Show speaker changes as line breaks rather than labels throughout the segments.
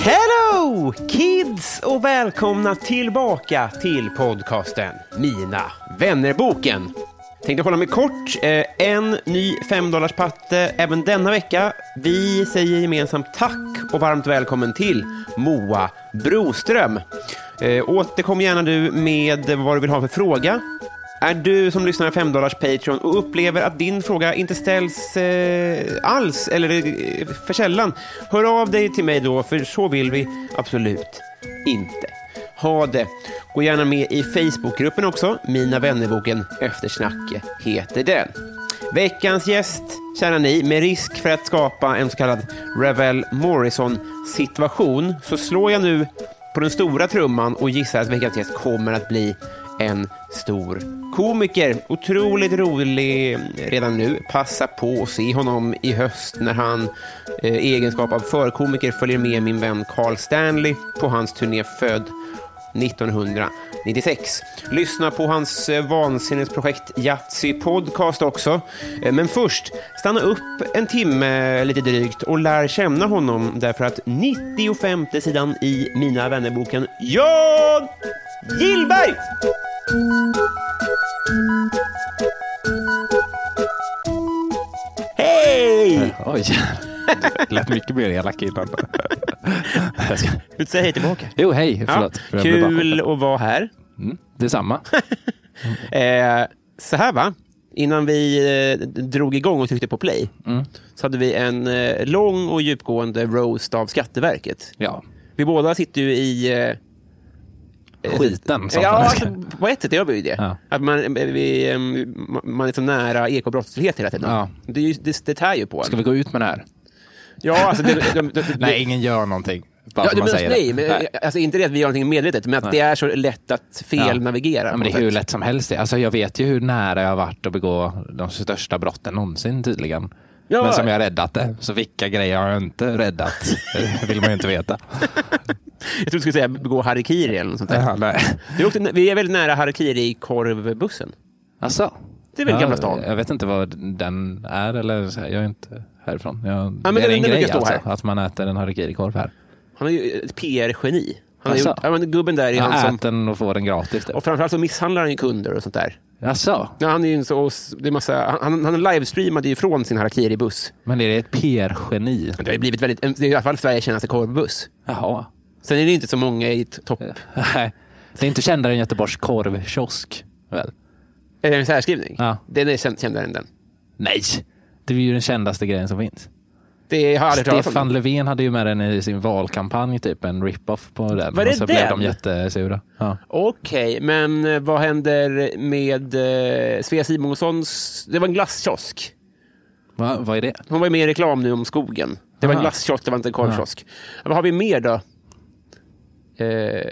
Hello kids och välkomna tillbaka till podcasten Mina vännerboken. Tänkte hålla mig kort. Eh, En ny 5 patte även denna vecka. Vi säger gemensamt tack och varmt välkommen till Moa Broström. Eh, Återkom gärna du med vad du vill ha för fråga. Är du som lyssnar 5 dollars Patreon och upplever att din fråga inte ställs eh, alls eller eh, för sällan, hör av dig till mig då, för så vill vi absolut inte ha det. Gå gärna med i Facebookgruppen också. Mina vännerboken Eftersnacke heter den. Veckans gäst, kära ni, med risk för att skapa en så kallad Revel Morrison-situation så slår jag nu på den stora trumman och gissar att veckans gäst kommer att bli en stor komiker. Otroligt rolig redan nu. Passa på att se honom i höst när han eh, i egenskap av förkomiker följer med min vän Carl Stanley på hans turné Född 1996. Lyssna på hans eh, vansinnesprojekt Yatzy Podcast också. Eh, Men först, stanna upp en timme eh, lite drygt och lär känna honom därför att 95 sidan i Mina vännerboken Jan Gillberg! Hej!
Oj, det lät mycket mer elak innan. Jag ska-
Vill du säga hej tillbaka?
Jo, hej, förlåt.
Ja,
Jag blev bara
kul
chockad.
att vara här.
Mm, detsamma.
Eh, så här va, innan vi eh, drog igång och tryckte på play
Mm.
så hade vi en eh, lång och djupgående roast av Skatteverket.
Ja,
Vi båda sitter ju i... Eh,
skiten. sa
ja,
man.
alltså, på ett sätt gör vi ju det.
Ja.
Att man, vi, eh, man är så nära ekobrottslighet hela tiden.
Ja.
Det, är ju- det, det tär ju på en.
Ska vi gå ut med det här?
Ja, alltså, det, det, det, det,
Nej, ingen gör någonting. Bara
Ja,
för
det
man
menas,
säger
nej,
det.
men, Alltså, inte det att vi gör någonting medvetet, men att
Nej.
det är så lätt att
Ja.
felnavigera.
Ja, men det
på
är hur
något sätt.
lätt som helst. det. Alltså, jag vet ju hur nära jag har varit att begå de största brotten någonsin tydligen.
Ja.
Men som jag har räddat det. Så vilka grejer har jag inte räddat? Det vill man ju inte veta.
Jag trodde du skulle säga begå harikiri eller något sånt där.
Ja, nej.
Vi, åkte, vi är väldigt nära Harikiri-korvbussen.
Alltså,
Det är väl
ja,
Gamla stan?
Jag vet inte vad den är eller så här, jag är inte härifrån. Jag,
men
det är
den-
en
den
grej
brukar stå
alltså,
här.
att man äter en harikirikorv här.
Han är ju ett PR-geni. Han har
Asså?
gjort, ja, men gubben där är
Man
han
äter
som...
den och får den gratis. Typ.
Och framförallt så misshandlar han ju kunder och sånt där.
Alltså,
Ja, han, är ju en så, och s- det är massa, han, han livestreamade ju från sin Harakiri-buss.
men är det ett PR-geni?
Men Det har ju blivit väldigt... Det är i alla fall Sveriges kändaste korvbuss.
Jaha.
Sen är det inte så många i t- topp...
Nej, det är inte kändare än Göteborgs korvkiosk, väl?
Är det en särskrivning?
Ja.
Den är känd- kändare än den.
Nej, det är ju den kändaste grejen som finns.
Det har jag aldrig hört
Stefan
om.
Löfven hade ju med den i sin valkampanj, typ en rip-off på den.
Var det
och så blev
den?
de jättesura. Ja.
Okej, men eh, vad händer med eh, Svea Simonssons... Det var en glasskiosk.
Va, vad är det?
Hon var ju med i reklam nu om skogen. Det var en
Aha.
glasskiosk, det var inte en korvkiosk. Vad har vi mer då? Eh...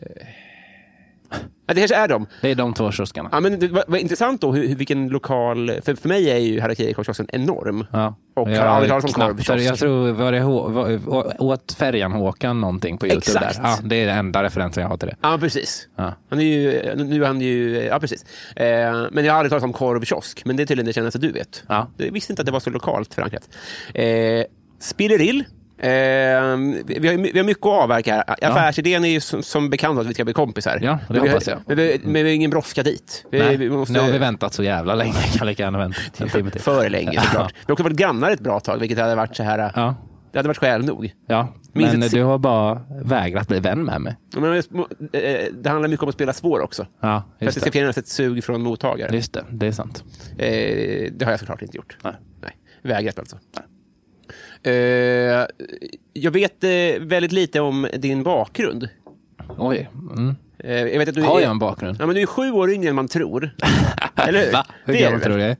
Ja, det kanske är dem.
Det är de två kioskarna.
Ja, men det var, var intressant då hur, hur, vilken lokal... För, för mig är ju Harakiri-korvkiosken enorm.
Ja.
Och
jag
har aldrig talat om
knappt-
korvkiosk.
Jag tror, var det, H- var, åt färjan Håkan någonting på Youtube?
Exakt.
Där. Ja, det är den enda referensen jag har till det.
Ja, precis.
Ja.
Han är ju, nu är han ju... Ja, precis. Eh, men jag har aldrig talat om korvkiosk, men det är tydligen det kändaste du vet.
Ja.
Jag visste inte att det var så lokalt förankrat. Eh, Spillerill Eh, vi, har, vi har mycket att avverka här.
Ja.
Affärsidén är ju som, som bekant att vi ska bli kompisar.
Ja, det
men vi, har-
hoppas jag.
Men vi, men vi har ingen brådska dit. Vi,
Nej,
vi måste-
Nu har vi väntat så jävla länge. Jag kan lika gärna vänta en timme till.
För länge
Ja.
såklart. Vi har också varit grannar ett bra tag, vilket hade varit så här...
Ja,
Det hade varit skäl nog.
ja.
Minns
men
ett-
du har bara vägrat bli vän med mig.
Men, eh, det handlar mycket om att spela svår också.
Ja,
För att det
just
ska
det.
finnas ett sug från mottagare.
Just det, det är sant.
Eh, det har jag såklart inte gjort.
Nej.
Vägrat alltså. Eh, jag vet eh, väldigt lite om din bakgrund.
Oj. Mm.
Eh, jag vet att du
Har
är,
jag en bakgrund?
Ja, men du är sju år yngre än man tror. Eller hur?
Va? Hur
Det är
gammal
du väl?
tror du jag är?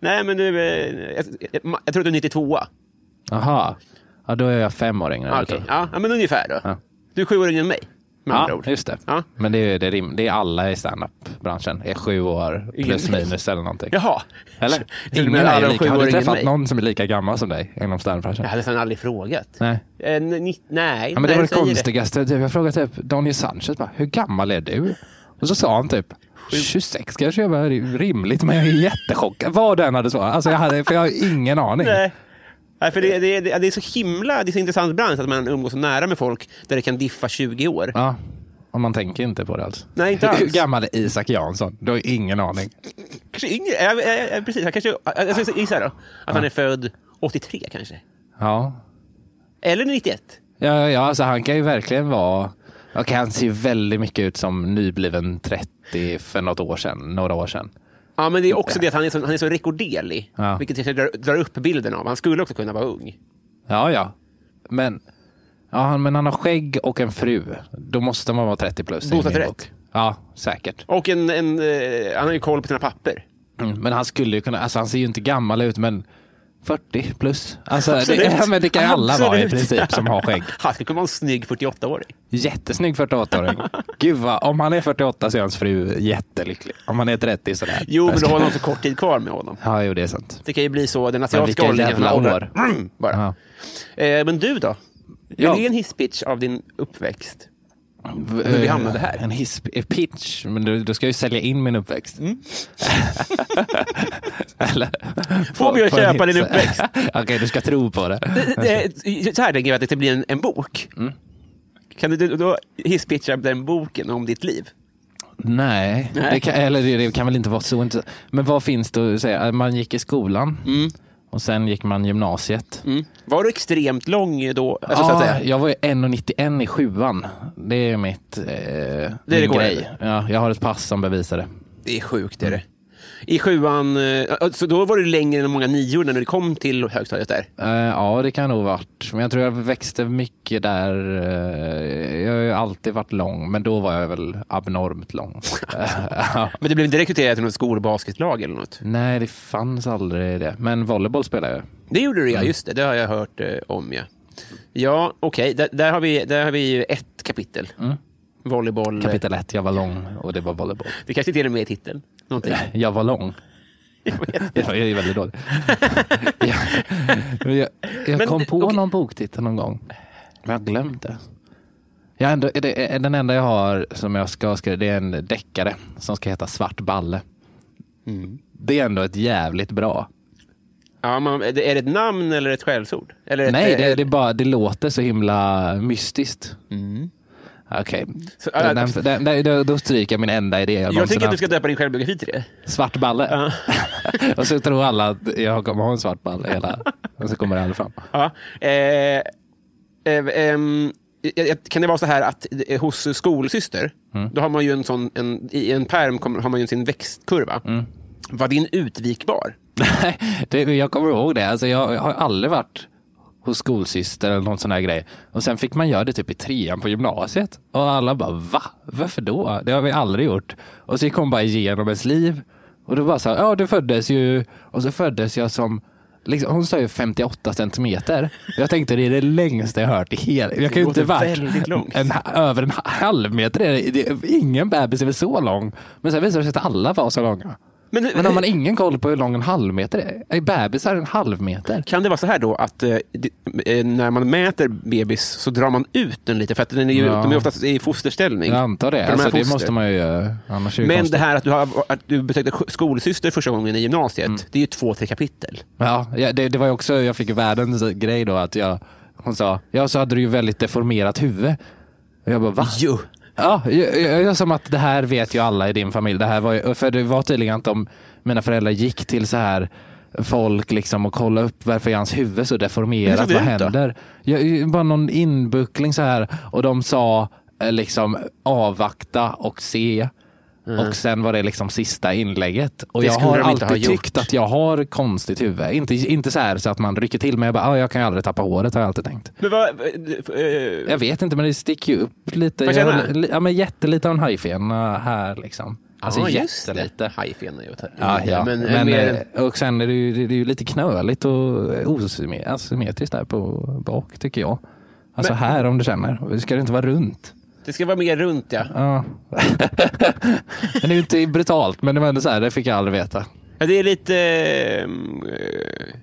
Nej, men du, eh, jag, jag, jag tror att du är 92.
Jaha. Ja, då är jag fem år yngre.
Ah,
än
okej.
du tror.
ja, ja, men ungefär då.
Ja.
Du är sju år yngre än mig. Med andra
Ja,
ord.
just det.
Ja.
Men det är, det, är rim, det är alla i standup-branschen. är sju år plus
Ingen-
minus eller någonting.
Jaha.
Eller?
du
Ingen
menar alla
är
de
lika. Har du
sjuåringar
träffat
mig?
någon som är lika gammal som dig inom standup-branschen?
Jag hade nästan aldrig frågat.
Nej.
Eh, n- ni, nej.
Ja, men det
nej,
var det
säger
konstigaste. Typ, Jag frågade typ Daniel Sanchez, bara, hur gammal är du? Och så sa han typ 26 kanske jag var rimligt, men jag är jättechockad. Vad den hade svarat. Alltså, jag, hade, för jag har ingen aning.
Nej. Nej, för det, det, det, det är så himla det är så intressant bransch att man umgås så nära med folk där det kan diffa 20 år.
Ja, och man tänker inte på det alls.
Nej, inte alls.
Hur gammal är Isak Jansson? Du har ingen aning.
Kanske yngre. Ja, ja, ja, precis. Han kanske, jag ska gissa då. Att han är född 83 kanske.
Ja,
Eller 91.
ja, ja alltså, han kan ju verkligen vara... Okej, han ser ju väldigt mycket ut som nybliven 30 för något år sedan, några år sedan.
Ja, men det är också det att han är så, han är så rekorderlig.
Ja.
Vilket kanske drar, drar upp bilden av. Han skulle också kunna vara ung.
Ja, ja. Men, ja, han- men han har skägg och en fru. Då måste man vara 30 plus. i min
Bostadsrätt.
bok. Ja, säkert.
Och en, en, eh, han har ju koll på sina papper.
Mm. Men han skulle ju kunna, alltså han ser ju inte gammal ut, men 40 plus. Alltså, det,
Absolut.
ja, men det kan ju alla vara i
Absolut.
princip som har skägg.
Han skulle kunna vara en snygg 48-åring.
Jättesnygg 48-åring. Gud vad, om han är 48 så är hans fru jättelycklig. Om han är 30 sådär.
Jo, men då har han så kort tid kvar med honom.
Ja, jo det är sant.
Det kan ju bli så. Den
Men
asiatiska
vilka
åldern
jävla
kan
år.
hålla- Mm, bara.
Ja.
Eh, men du då?
Ja.
Det är en hisspitch av din uppväxt. vi hamnade här.
Eh, En hiss, en pitch, men du, du ska ju sälja in min uppväxt.
Mm.
Eller,
Får mig att
på en
köpa din
hiss.
uppväxt?
Okej, du ska tro på det.
Eh, Så här tänker jag att det blir en, en bok. Kan du då hisspitcha den boken om ditt liv?
Nej,
Nej.
Det kan, eller det, det kan väl inte vara så. Inte, men vad finns det att säga? Man gick i skolan
Mm.
och sen gick man gymnasiet.
Var du extremt lång då? Mm. Alltså, så att
ja,
säga.
jag var ju 1,91 i sjuan. Det är mitt eh, det
det går
grej. Ja, jag har ett pass som bevisar det.
Det är sjukt. Är det. I sjuan, eh, alltså, då var du längre än många nior när du kom till högstadiet där.
Eh, ja, det kan nog varit. Men jag tror jag växte mycket där. eh, jag har ju alltid varit lång, men då var jag väl abnormt lång. Ja.
Men du blev inte rekryterad till något skolbasketlag eller något?
Nej, det fanns aldrig det. Men volleyboll spelade jag.
Det gjorde du ja, just det. Det har jag hört eh, om ja. Ja, okej. Där, där, har vi- där har vi ju ett kapitel. Volleyboll.
Kapitel 1, jag var lång och det var volleyboll.
Det kanske till och med är titeln. Någonting.
Jag var lång. Det var ju väldigt dåligt. jag men jag, jag
Men
kom
det-
på
okej.
någon boktitel någon gång, men jag har glömt det. Jag har ändå, det är den enda jag har som jag ska skriva, det är en deckare som ska heta Svart balle. Det är ändå ett jävligt bra.
Ja, man, är det är det ett namn eller ett skällsord? Eller ett,
Nej, det,
eh,
det, är bara, det låter så himla mystiskt. Okej,
Så, äh,
den, den, den, då- då stryker jag min enda idé.
Jag
någonsin
tycker att du
haft.
ska döpa din självbiografi till det.
Svart balle. och så tror alla att jag kommer ha en svart balle hela... Och så kommer det aldrig fram.
Ja. Eh, eh, ehm, eh, eh, kan det vara så här att eh, hos skolsyster,
Mm.
då har man ju en sån, en, i en perm kommer- har man ju sin växtkurva.
Mm.
Var din utvikbar?
Nej, det, jag kommer ihåg det. Alltså, jag, jag har aldrig varit hos skolsyster eller någon sån här grej. Och sen fick man göra det typ i trean på gymnasiet. Och alla bara va? Varför då? Det har vi aldrig gjort. Och så gick hon bara igenom ens liv. Och då bara så här, ja du föddes ju. Och så föddes jag som Liksom, hon sa ju 58 centimeter. Jag tänkte det är det längsta jag hört i hela... Jag kan ju
låter
inte varit
väldigt långt.
en, över en halv meter. är det- det- Ingen bebis är väl så lång. Men sen visade det sig att alla var så långa.
Men,
Men har man ingen koll på hur lång en halv meter är? Är bebisar en halv meter?
Kan det vara så här då att eh, det- eh, när man mäter bebis så drar man ut den lite? För att den är ju,
Ja.
de är oftast i fosterställning.
Jag antar det.
För de här
Alltså, det
foster.
måste man ju göra. Annars är det
Men
konstigt.
det här att du, har, att du besökte sk- skolsyster första gången i
Mm.
gymnasiet, det är ju två, tre kapitel.
Ja, ja, det, det var ju också, jag fick ju världens grej då att jag Hon sa, ja så hade du ju väldigt deformerat huvud. Och jag bara, va?
Jo.
Ja, jag, jag, jag som att det här vet ju alla i din familj. Det här var ju, för det var tydligen att de, mina föräldrar gick till så här folk liksom och kollade upp varför är hans huvud så
Hur
deformerat.
såg
Vad
det ut då?
händer? Jag, bara någon inbuckling så här och de sa eh, liksom avvakta och se. Och sen var det liksom sista inlägget. Och
Mm. Det
jag
skulle
har
de inte ha
alltid
gjort.
tyckt att jag har konstigt huvud. Inte, inte så här så att man rycker till men jag bara, ah, jag kan ju aldrig tappa håret har jag alltid tänkt.
Men vad... eh,
Jag vet inte, men det sticker ju upp lite.
Vad
Jag
känner
har
du?
li- ja, men jättelite av en hajfena här liksom. Alltså
just det.
jättelite.
Hajfen är ju att ta i.
Ja, ja.
Men,
Men,
eh, mer,
eh, Och sen är det, ju, det, det är ju lite knöligt och eh, osymme- asymmetriskt där på bak tycker jag. Alltså här om du känner. Det ska det inte vara runt.
det ska vara mer runt ja.
Ja. men det är ju inte brutalt, men det var ändå så här, det fick jag aldrig veta.
ja. Det är lite eh, eh,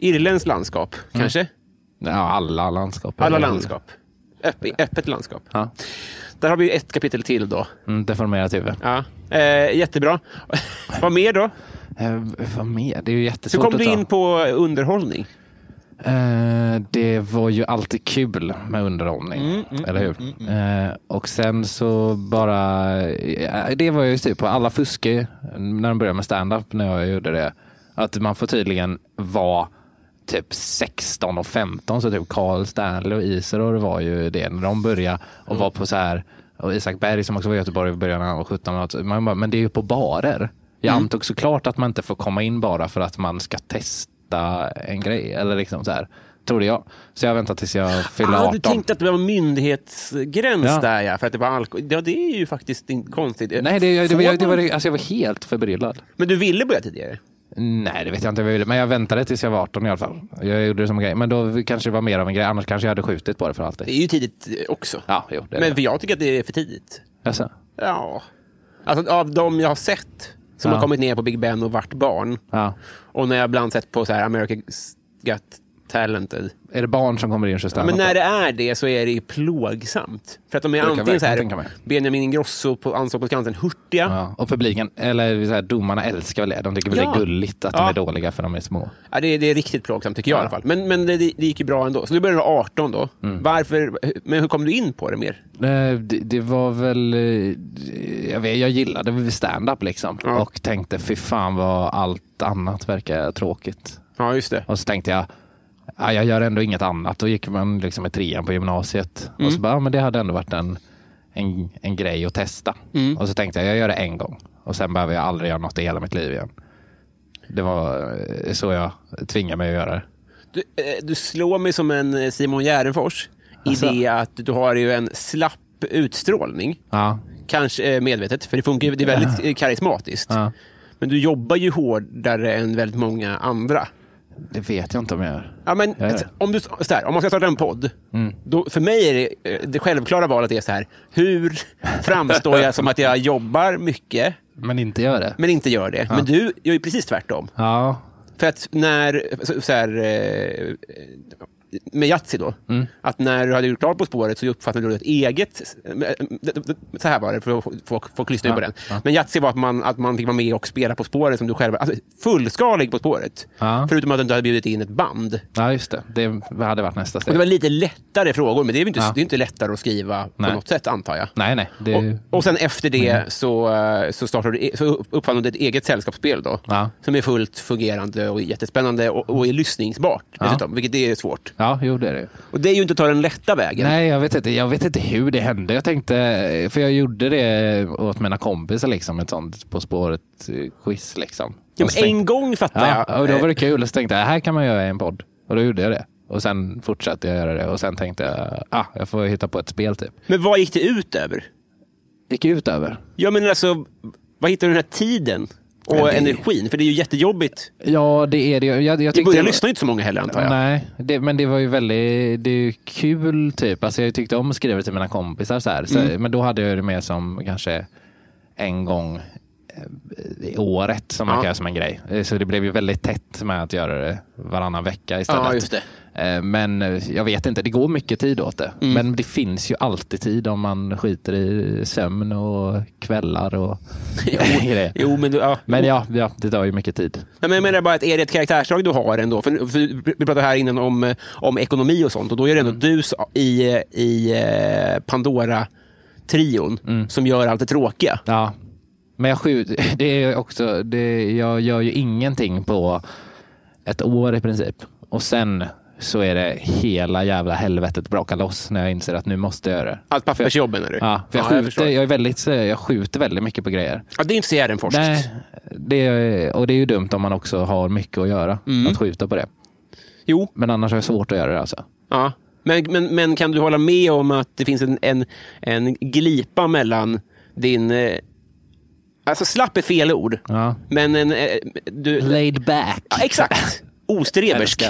irländskt landskap kanske.
Mm. Ja, alla landskap.
Alla landskap. Öpp, öppet landskap.
Ja.
Där har vi ju ett kapitel till då.
Mm, deformerat huvud.
Ja. Eh, jättebra. Vad mer då?
Eh, vad mer? Det är ju
Hur
jättesvårt
kom du
att ta.
in på underhållning?
Eh, det var ju alltid kul med underhållning, eller hur? Eh, och sen så bara, eh, det var jag ju typ på alla fuskar ju, när de började med stand-up när jag gjorde det. Att man får tydligen vara typ 16 och 15, så typ Carl Stanley och Iseror var ju det när de började och var på så här, och Isak Berg som också var i Göteborg i början när han var 17, och allt, man bara, men det är ju på barer. Jag
Mm.
antog såklart att man inte får komma in bara för att man ska testa en grej eller liksom så här. Trodde jag. Så jag väntar tills jag fyller
Ah,
18.
du tänkte att det var myndighetsgräns
Ja.
där ja, för att det var alkohol. Ja, det är ju faktiskt inte konstigt.
Nej, det, det, det,
Får
det, det
man-
var, alltså jag var helt förbryllad.
Men du ville börja tidigare?
Nej, det vet jag inte vad jag ville. Men jag väntade tills jag var 18 i alla fall. Jag gjorde det som en grej. Men då kanske det var mer av en grej. Annars kanske jag hade skjutit på det för
Det
alltid.
är ju tidigt eh, också.
Ja, jo. Det är
Men
det.
för jag tycker att det är för tidigt.
Jaså?
Ja. Alltså av de jag har sett som
Ja.
har kommit ner på Big Ben och varit barn.
Ja.
Och när jag ibland sett på så här America's Got Talented.
Är det barn som kommer in och kör
Men
standup
när
då?
det är det så är det ju plågsamt. För att de är
kan jag
antingen så
verkligen tänka mig.
här Benjamin Ingrosso på Anslag på Skansen hurtiga.
Ja. Och publiken, eller så här, domarna älskar väl det. De tycker väl
Ja.
det är gulligt att de
Ja.
är dåliga för de är små.
Ja, det, är- det är riktigt plågsamt tycker jag
Ja. Mm.
i alla fall. Men, men det, det gick ju bra ändå. Så du började du vara 18 då. Varför, men hur kom du in på det mer?
Eh, Det, det var väl, eh, jag, vet, jag gillade väl stand-up liksom
Ja.
och tänkte fy fan vad allt annat verkar tråkigt.
Ja, just det.
Och så tänkte jag, ja, jag gör ändå inget annat. Då gick man liksom i trean på gymnasiet och så bara, ja, men det hade ändå varit en, en, en grej att testa. Och så tänkte jag, jag gör det en gång och sen behöver jag aldrig göra något i hela mitt liv igen. Det var eh, så jag tvingade mig att göra det.
Du, eh, du slår mig som en eh, Simon Gärdenfors
Alltså.
i det att du har ju en slapp utstrålning.
Ja,
Kanske eh, medvetet, för det funkar ju. Det är väldigt eh, karismatiskt.
ja.
Men du jobbar ju hårdare än väldigt många andra.
Det vet jag inte om jag gör.
Ja, men,
Ja, Mm. ja.
Om, du, så här, om man ska starta en podd, då, för mig är det, eh, det självklara valet är så här, hur framstår jag som att jag jobbar mycket
Men inte gör det.
men inte gör det? Men du gör ju precis tvärtom.
Ja,
För att när, så, så här, eh, med Yatzy då,
Mm.
att när du hade gjort klart På spåret så uppfattade du ett eget, så här var det, för att folk, folk lyssnar ju på
Ja,
den.
ja.
Men Yatzy var att man, att man fick vara med och spela På spåret som du själv, alltså fullskalig På spåret.
Ja.
Förutom att du inte hade bjudit in ett band.
Ja, just det. Det hade varit nästa
Och
steg.
det var lite lättare frågor, men det är ju inte,
Ja.
det är inte lättare att skriva
Nej.
på något sätt, antar jag.
Nej, nej. Det... Mm.
Och, och sen efter det så, eh, så, startade, du- så uppfann du ett eget sällskapsspel då,
Ja.
som är fullt fungerande och jättespännande och, och är lyssningsbart dessutom, vilket det är svårt.
Ja, jo det är det.
Och det är ju inte att ta den lätta vägen.
Nej, jag vet, inte, jag vet inte hur det hände. Jag tänkte, för jag gjorde det åt mina kompisar, liksom, ett sånt På spåret-quiz. Liksom.
Ja,
Och så
men
tänkte-
en gång fattar
ja,
jag.
och då var det kul och så tänkte jag, här kan man göra en podd. Och då gjorde jag det. Och sen fortsatte jag göra det och sen tänkte jag, ah, jag får hitta på ett spel typ.
Men vad gick det ut över?
Gick ut över.
Ja, men alltså, vad hittar du den här tiden och
Ja, det-
energin? För det är ju jättejobbigt.
Ja, det är det. Jag, jag
I
tyckte-
början lyssnar ju inte så många heller, antar jag.
Nej, det, men det var ju väldigt det är ju kul typ. Alltså, jag tyckte om att
Mm.
skriva till mina kompisar så här. Så, Men då hade jag det mer som kanske en gång eh, året som man
Ja.
kan göra som en grej. Eh, Så det blev ju väldigt tätt med att göra det varannan vecka istället.
Ja, just det.
Eh, Men eh, jag vet inte, det går mycket tid åt det.
Mm.
Men det finns ju alltid tid om man skiter i sömn och kvällar och grejer.
Jo, men, du, ja.
Men ja, ja, det tar ju mycket tid.
Nej, men jag menar bara att är det ett karaktärsdrag du har ändå? För, för vi pratade här innan om, eh, om ekonomi och sånt och då är det
Mm.
ändå du sa- i, eh, i eh, Pandora-trion
Mm.
som gör allt det tråkiga.
Ja. Men jag skjuter, det är ju också, det, jag gör ju ingenting på ett år i princip. Och sen så är det hela jävla helvetet brakar loss när jag inser att nu måste jag göra det.
Allt pappersjobb menar du?
Ja, för jag, skjuter,
förstår.
jag, är väldigt, så- jag skjuter väldigt mycket på grejer.
ja, det är inte så Gärdenfors.
Nej, det är, och det är ju dumt om man också har mycket att göra, att skjuta på det.
Jo,
Men annars är det svårt att göra det alltså.
ja. Men, men, men kan du hålla med om att det finns en, en, en glipa mellan din... eh, Alltså slapp är fel ord.
Ja.
Men en, eh, du,
Laid back.
ja, exakt. Ostrebersk.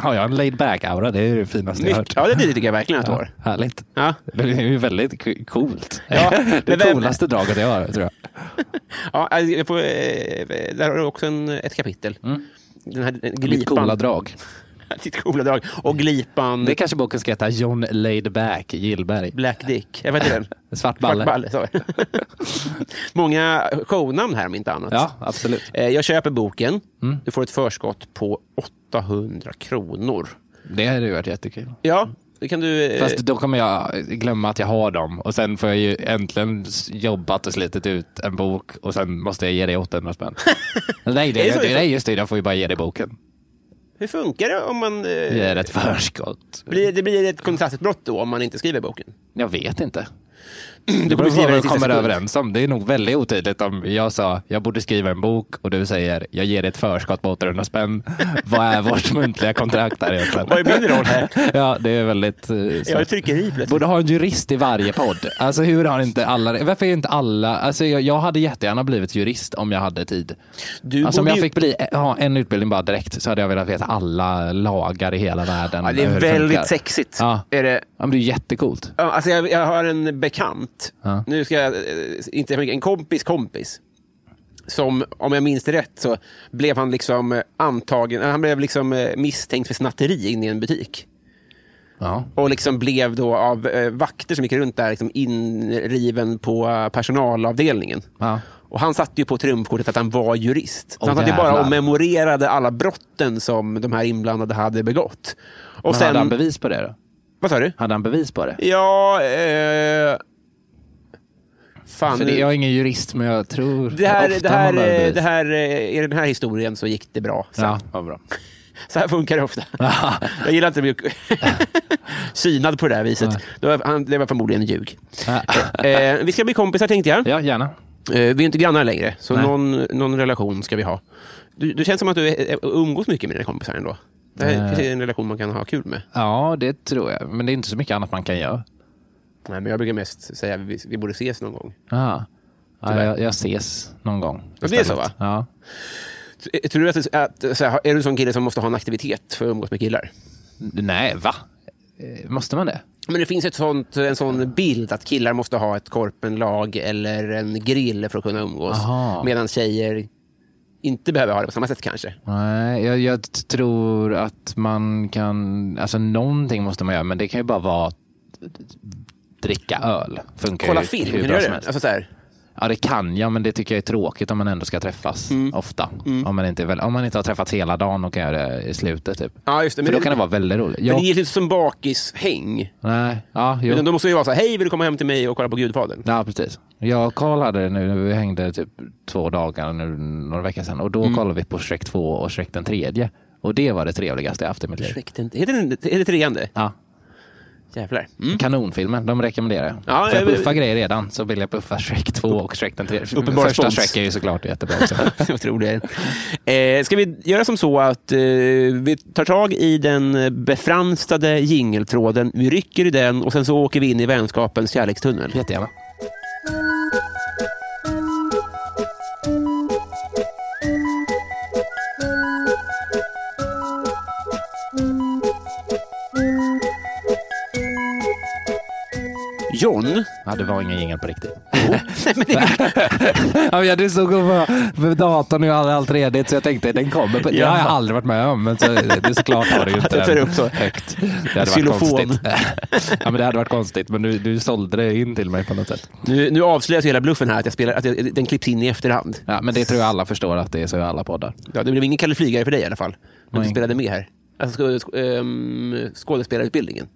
Har jag en laid back-aura? Det är det finaste jag har hört.
Mycket, ja, det tycker jag verkligen att du har.
Härligt.
Ja.
Det är ju väldigt k- coolt.
Ja,
det
men vem-
coolaste draget jag har, tror jag.
Ja, alltså, jag får, eh, där har du också en, ett kapitel. Den här glipan.
Mm. Mitt coola drag.
Ditt coola drag. Och glipan
Det kanske boken ska heta John Laidback Gillberg.
Black Dick. Jag vet inte den.
Svart balle.
Svartballe, sa jag. Många shownamn här om inte annat.
Ja, Mm. absolut.
Eh, Jag köper boken. Du får ett förskott på 800 kronor.
Det hade ju varit jättekul.
Ja, det kan du... eh,
Fast då kommer jag glömma att jag har dem och sen får jag ju äntligen s- jobbat och slitit ut en bok och sen måste jag ge dig 800 spänn. nej,
Är det
det,
så det
det,
är?
nej, just det. Jag får ju bara ge dig boken.
Hur funkar det om man... eh,
Det är ett förskott.
Blir, det blir ett kontraktsbrott då om man inte skriver boken?
Jag vet inte.
Du
Det beror på
skriva den
vad vi
sista
kommer
sekund.
överens om. Det är nog väldigt otydligt om jag sa jag borde skriva en bok och du säger jag ger dig ett förskott på 800 spänn. Vad är vårt muntliga kontrakt här egentligen?
Vad är min roll här?
Ja, det är väldigt... eh,
Jag är
så.
tryckeri plötsligt.
Borde ha en jurist i varje podd. Alltså hur har inte alla det? Varför är inte alla... Alltså jag, jag hade jättegärna blivit jurist om jag hade tid.
Du
alltså om
borde
jag
ju-
fick bli, ha en utbildning bara direkt så hade jag velat veta alla lagar i hela världen.
Ja, det
hur
är väldigt
funkar.
sexigt.
Ja.
Är det...
Ja, men det är jättecoolt.
Ja, Alltså jag, jag har en bekant,
Ja.
nu ska jag, eh, inte en kompis kompis, som om jag minns det rätt så blev han liksom eh, antagen, han blev liksom eh, misstänkt för snatteri inne i en butik.
Ja.
Och liksom blev då av eh, vakter som gick runt där liksom inriven på eh, personalavdelningen.
Ja.
Och han satte ju på trumfkortet att han var jurist. Så
Åh,
han satt ju bara
jävlar.
och memorerade alla brotten som de här inblandade hade begått. Och
Men
sen...
hade han bevis på det då?
Vad sa du?
Hade han bevis på det?
Ja... Eh... Fan,
För det, jag är ingen jurist, men jag tror
det, här,
ofta
det, här,
man har
eh,
bevis.
det här, eh, I den här historien så gick det bra. Så,
Ja, vad bra.
så här funkar det ofta. jag gillar inte att bli synad på det här viset. Det var, han, det var förmodligen ljug. eh, vi ska bli kompisar tänkte jag.
Ja, gärna.
Eh, vi är inte grannar längre, så
Nej.
någon, någon relation ska vi ha. Du, du känns som att du eh, umgås mycket med dina kompisar ändå. Det här
Eh.
kanske är en relation man kan ha kul med.
Ja, det tror jag. Men det är inte så mycket annat man kan göra.
Nej, men jag brukar mest säga att vi, vi borde ses någon gång.
Ja. Ja,
Tyvärr.
jag, jag ses någon gång.
Ja, det är så,
istället. Ja.
Eh, Tror du att, det- att så här, är du en sån kille som måste ha en aktivitet för att umgås med killar?
Nej, va? Eh, Måste man det?
Men det finns ett sånt, en sån bild att killar måste ha ett korpenlag eller en grill för att kunna umgås.
Aha.
Medan tjejer inte behöver ha det på samma sätt kanske.
Nej, jag, jag t- tror att man kan... Alltså någonting måste man göra, men det kan ju bara vara... Dricka öl. Funkar
Kolla
ju
film,
hur
kan du
bra
göra
som
det?
helst.
Alltså, så här,
Ja, det kan jag, men det tycker jag är tråkigt om man ändå ska träffas
Mm.
ofta. Om, man inte, är väl- om man inte har träffats hela dagen och kan göra det i slutet. Typ.
ja, just det.
För
Men,
då kan det vara väldigt roligt.
men
Jag,
det är inte som bakishäng.
nej, ja, jo.
Utan då måste det ju vara så här, hej vill du komma hem till mig och kolla på Gudfadern?
Ja, precis. Jag och Karl hade det nu, vi hängde typ två dagar nu, några veckor sedan och då
Mm.
kollade vi på Shrek 2 och Shrek den tredje. Och det var det trevligaste jag haft i mitt liv.
Ursäkta, Heter den, är det treande?
Ja,
Jävlar.
Kanonfilmen, de rekommenderar jag.
Mm. Ja,
För jag
jag-
puffar grejer redan så vill jag puffa Shrek 2 och Shrek den tredje.
Uppenbar
Första
respons.
Shrek är ju såklart jättebra också.
Jag tror det. Eh, ska vi göra som så att eh, vi tar tag i den befranstade jingeltråden, vi rycker i den och sen så åker vi in i vänskapens kärlekstunnel.
Jättegärna.
John.
Ja, det var ingen jingel på riktigt. ja, men jag det stod och bara- för datorn och jag hade allt redigt så jag tänkte den kommer. På, Det har jag
Ja.
aldrig varit med om, men så, det är såklart har det ju inte
Det tar
den
upp så.
högt. Det hade
Xylofon.
varit konstigt. ja, men det hade varit konstigt, men du, du sålde det in till mig på något sätt.
Nu, nu avslöjas ju hela bluffen här, att, jag spelar, att jag, den klipps in i efterhand.
Ja, men det tror jag alla förstår att det är så i alla poddar.
Ja, det blev ingen Kalle Flygare för dig i alla fall, när du
Nej.
spelade med här. Alltså, sk- sk- ehm, skådespelarutbildningen.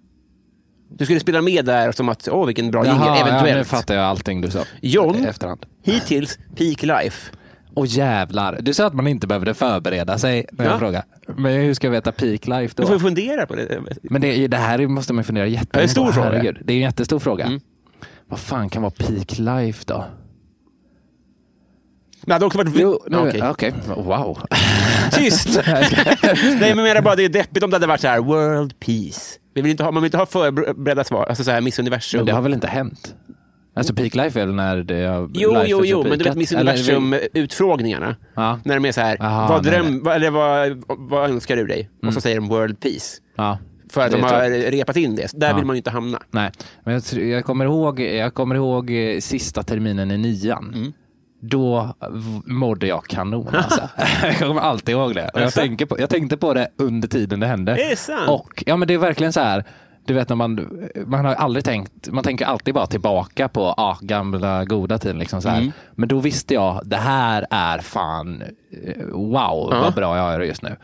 Du skulle spela med där som att, åh vilken bra jingel,
ja, nu
eventuellt.
fattar jag allting du sa.
John,
I efterhand.
hittills peak life.
Åh jävlar, du sa att man inte behövde förbereda sig när jag
Ja.
frågade. Men hur ska jag veta peak life
Du
då?
får ju fundera på det.
Men det, är ju- det här måste man ju fundera jättemycket
Det är en stor
på.
fråga.
Herregud, Det är en Mm. jättestor fråga. Vad fan kan vara peak life då?
Men hade också varit...
Jo, nu-
Okej.
okej. Wow.
Tyst! Nej, men jag menar bara det är deppigt om det hade varit så här, world peace. Vi vill inte ha, man vill inte ha förberedda svar, alltså så här Miss Universum.
Men det har väl inte hänt? Alltså peak life är väl när det har...
Jo,
life
jo,
har
jo, men du vet
peakat?
Miss
Eller är det-
Universum-utfrågningarna.
Ja.
När de är så här,
Aha,
vad,
nej,
dröm,
nej.
Vad, eller vad, vad önskar du dig? Och så säger de world peace.
Ja.
För att
Det
de
tror
har
jag.
repat in det. Så Där
Ja.
vill man ju inte hamna.
Nej, men jag, tror- jag, kommer ihåg, jag kommer ihåg eh, sista terminen i nian.
Mm.
Då v- mådde jag kanon. Alltså. jag kommer alltid ihåg det. Och jag,
Jaså?
tänker på, jag tänkte på det under tiden det hände.
Är det sant?
Och, ja, men det är verkligen så här. Du vet när man, man har aldrig tänkt, man tänker alltid bara tillbaka på ah, gamla goda tiden. Liksom så här.
Mm.
Men då visste jag, det här är fan, eh, wow vad bra jag har det just nu. Jag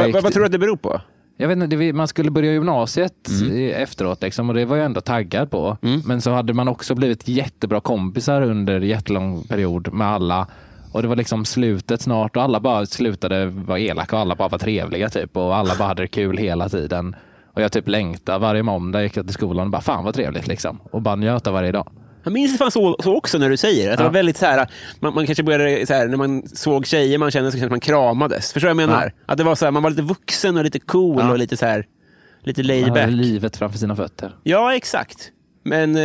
Vad,
gick-
vad, vad tror du att det beror på?
jag vet inte, det, man skulle börja gymnasiet
Mm.
i- efteråt liksom, och det var jag ändå taggad på. Men så hade man också blivit jättebra kompisar under jättelång period med alla. Och det var liksom slutet snart och alla bara slutade vara elaka och alla bara var trevliga typ. Och alla bara hade det kul hela tiden. Och jag typ längtade. Varje måndag gick jag till skolan och bara fan vad trevligt liksom. Och bara njöt av varje dag.
Jag minns det fan så, så också när du säger det. Att det
Ja.
var väldigt så här, man, man kanske började så här, när man såg tjejer man kände så kände man att man kramades. Förstår du vad jag menar? Att det var så här, man var lite vuxen och lite cool
Ja.
och lite så här, lite
Man
laid
hade
back.
livet framför sina fötter.
Ja, exakt. Men, eh,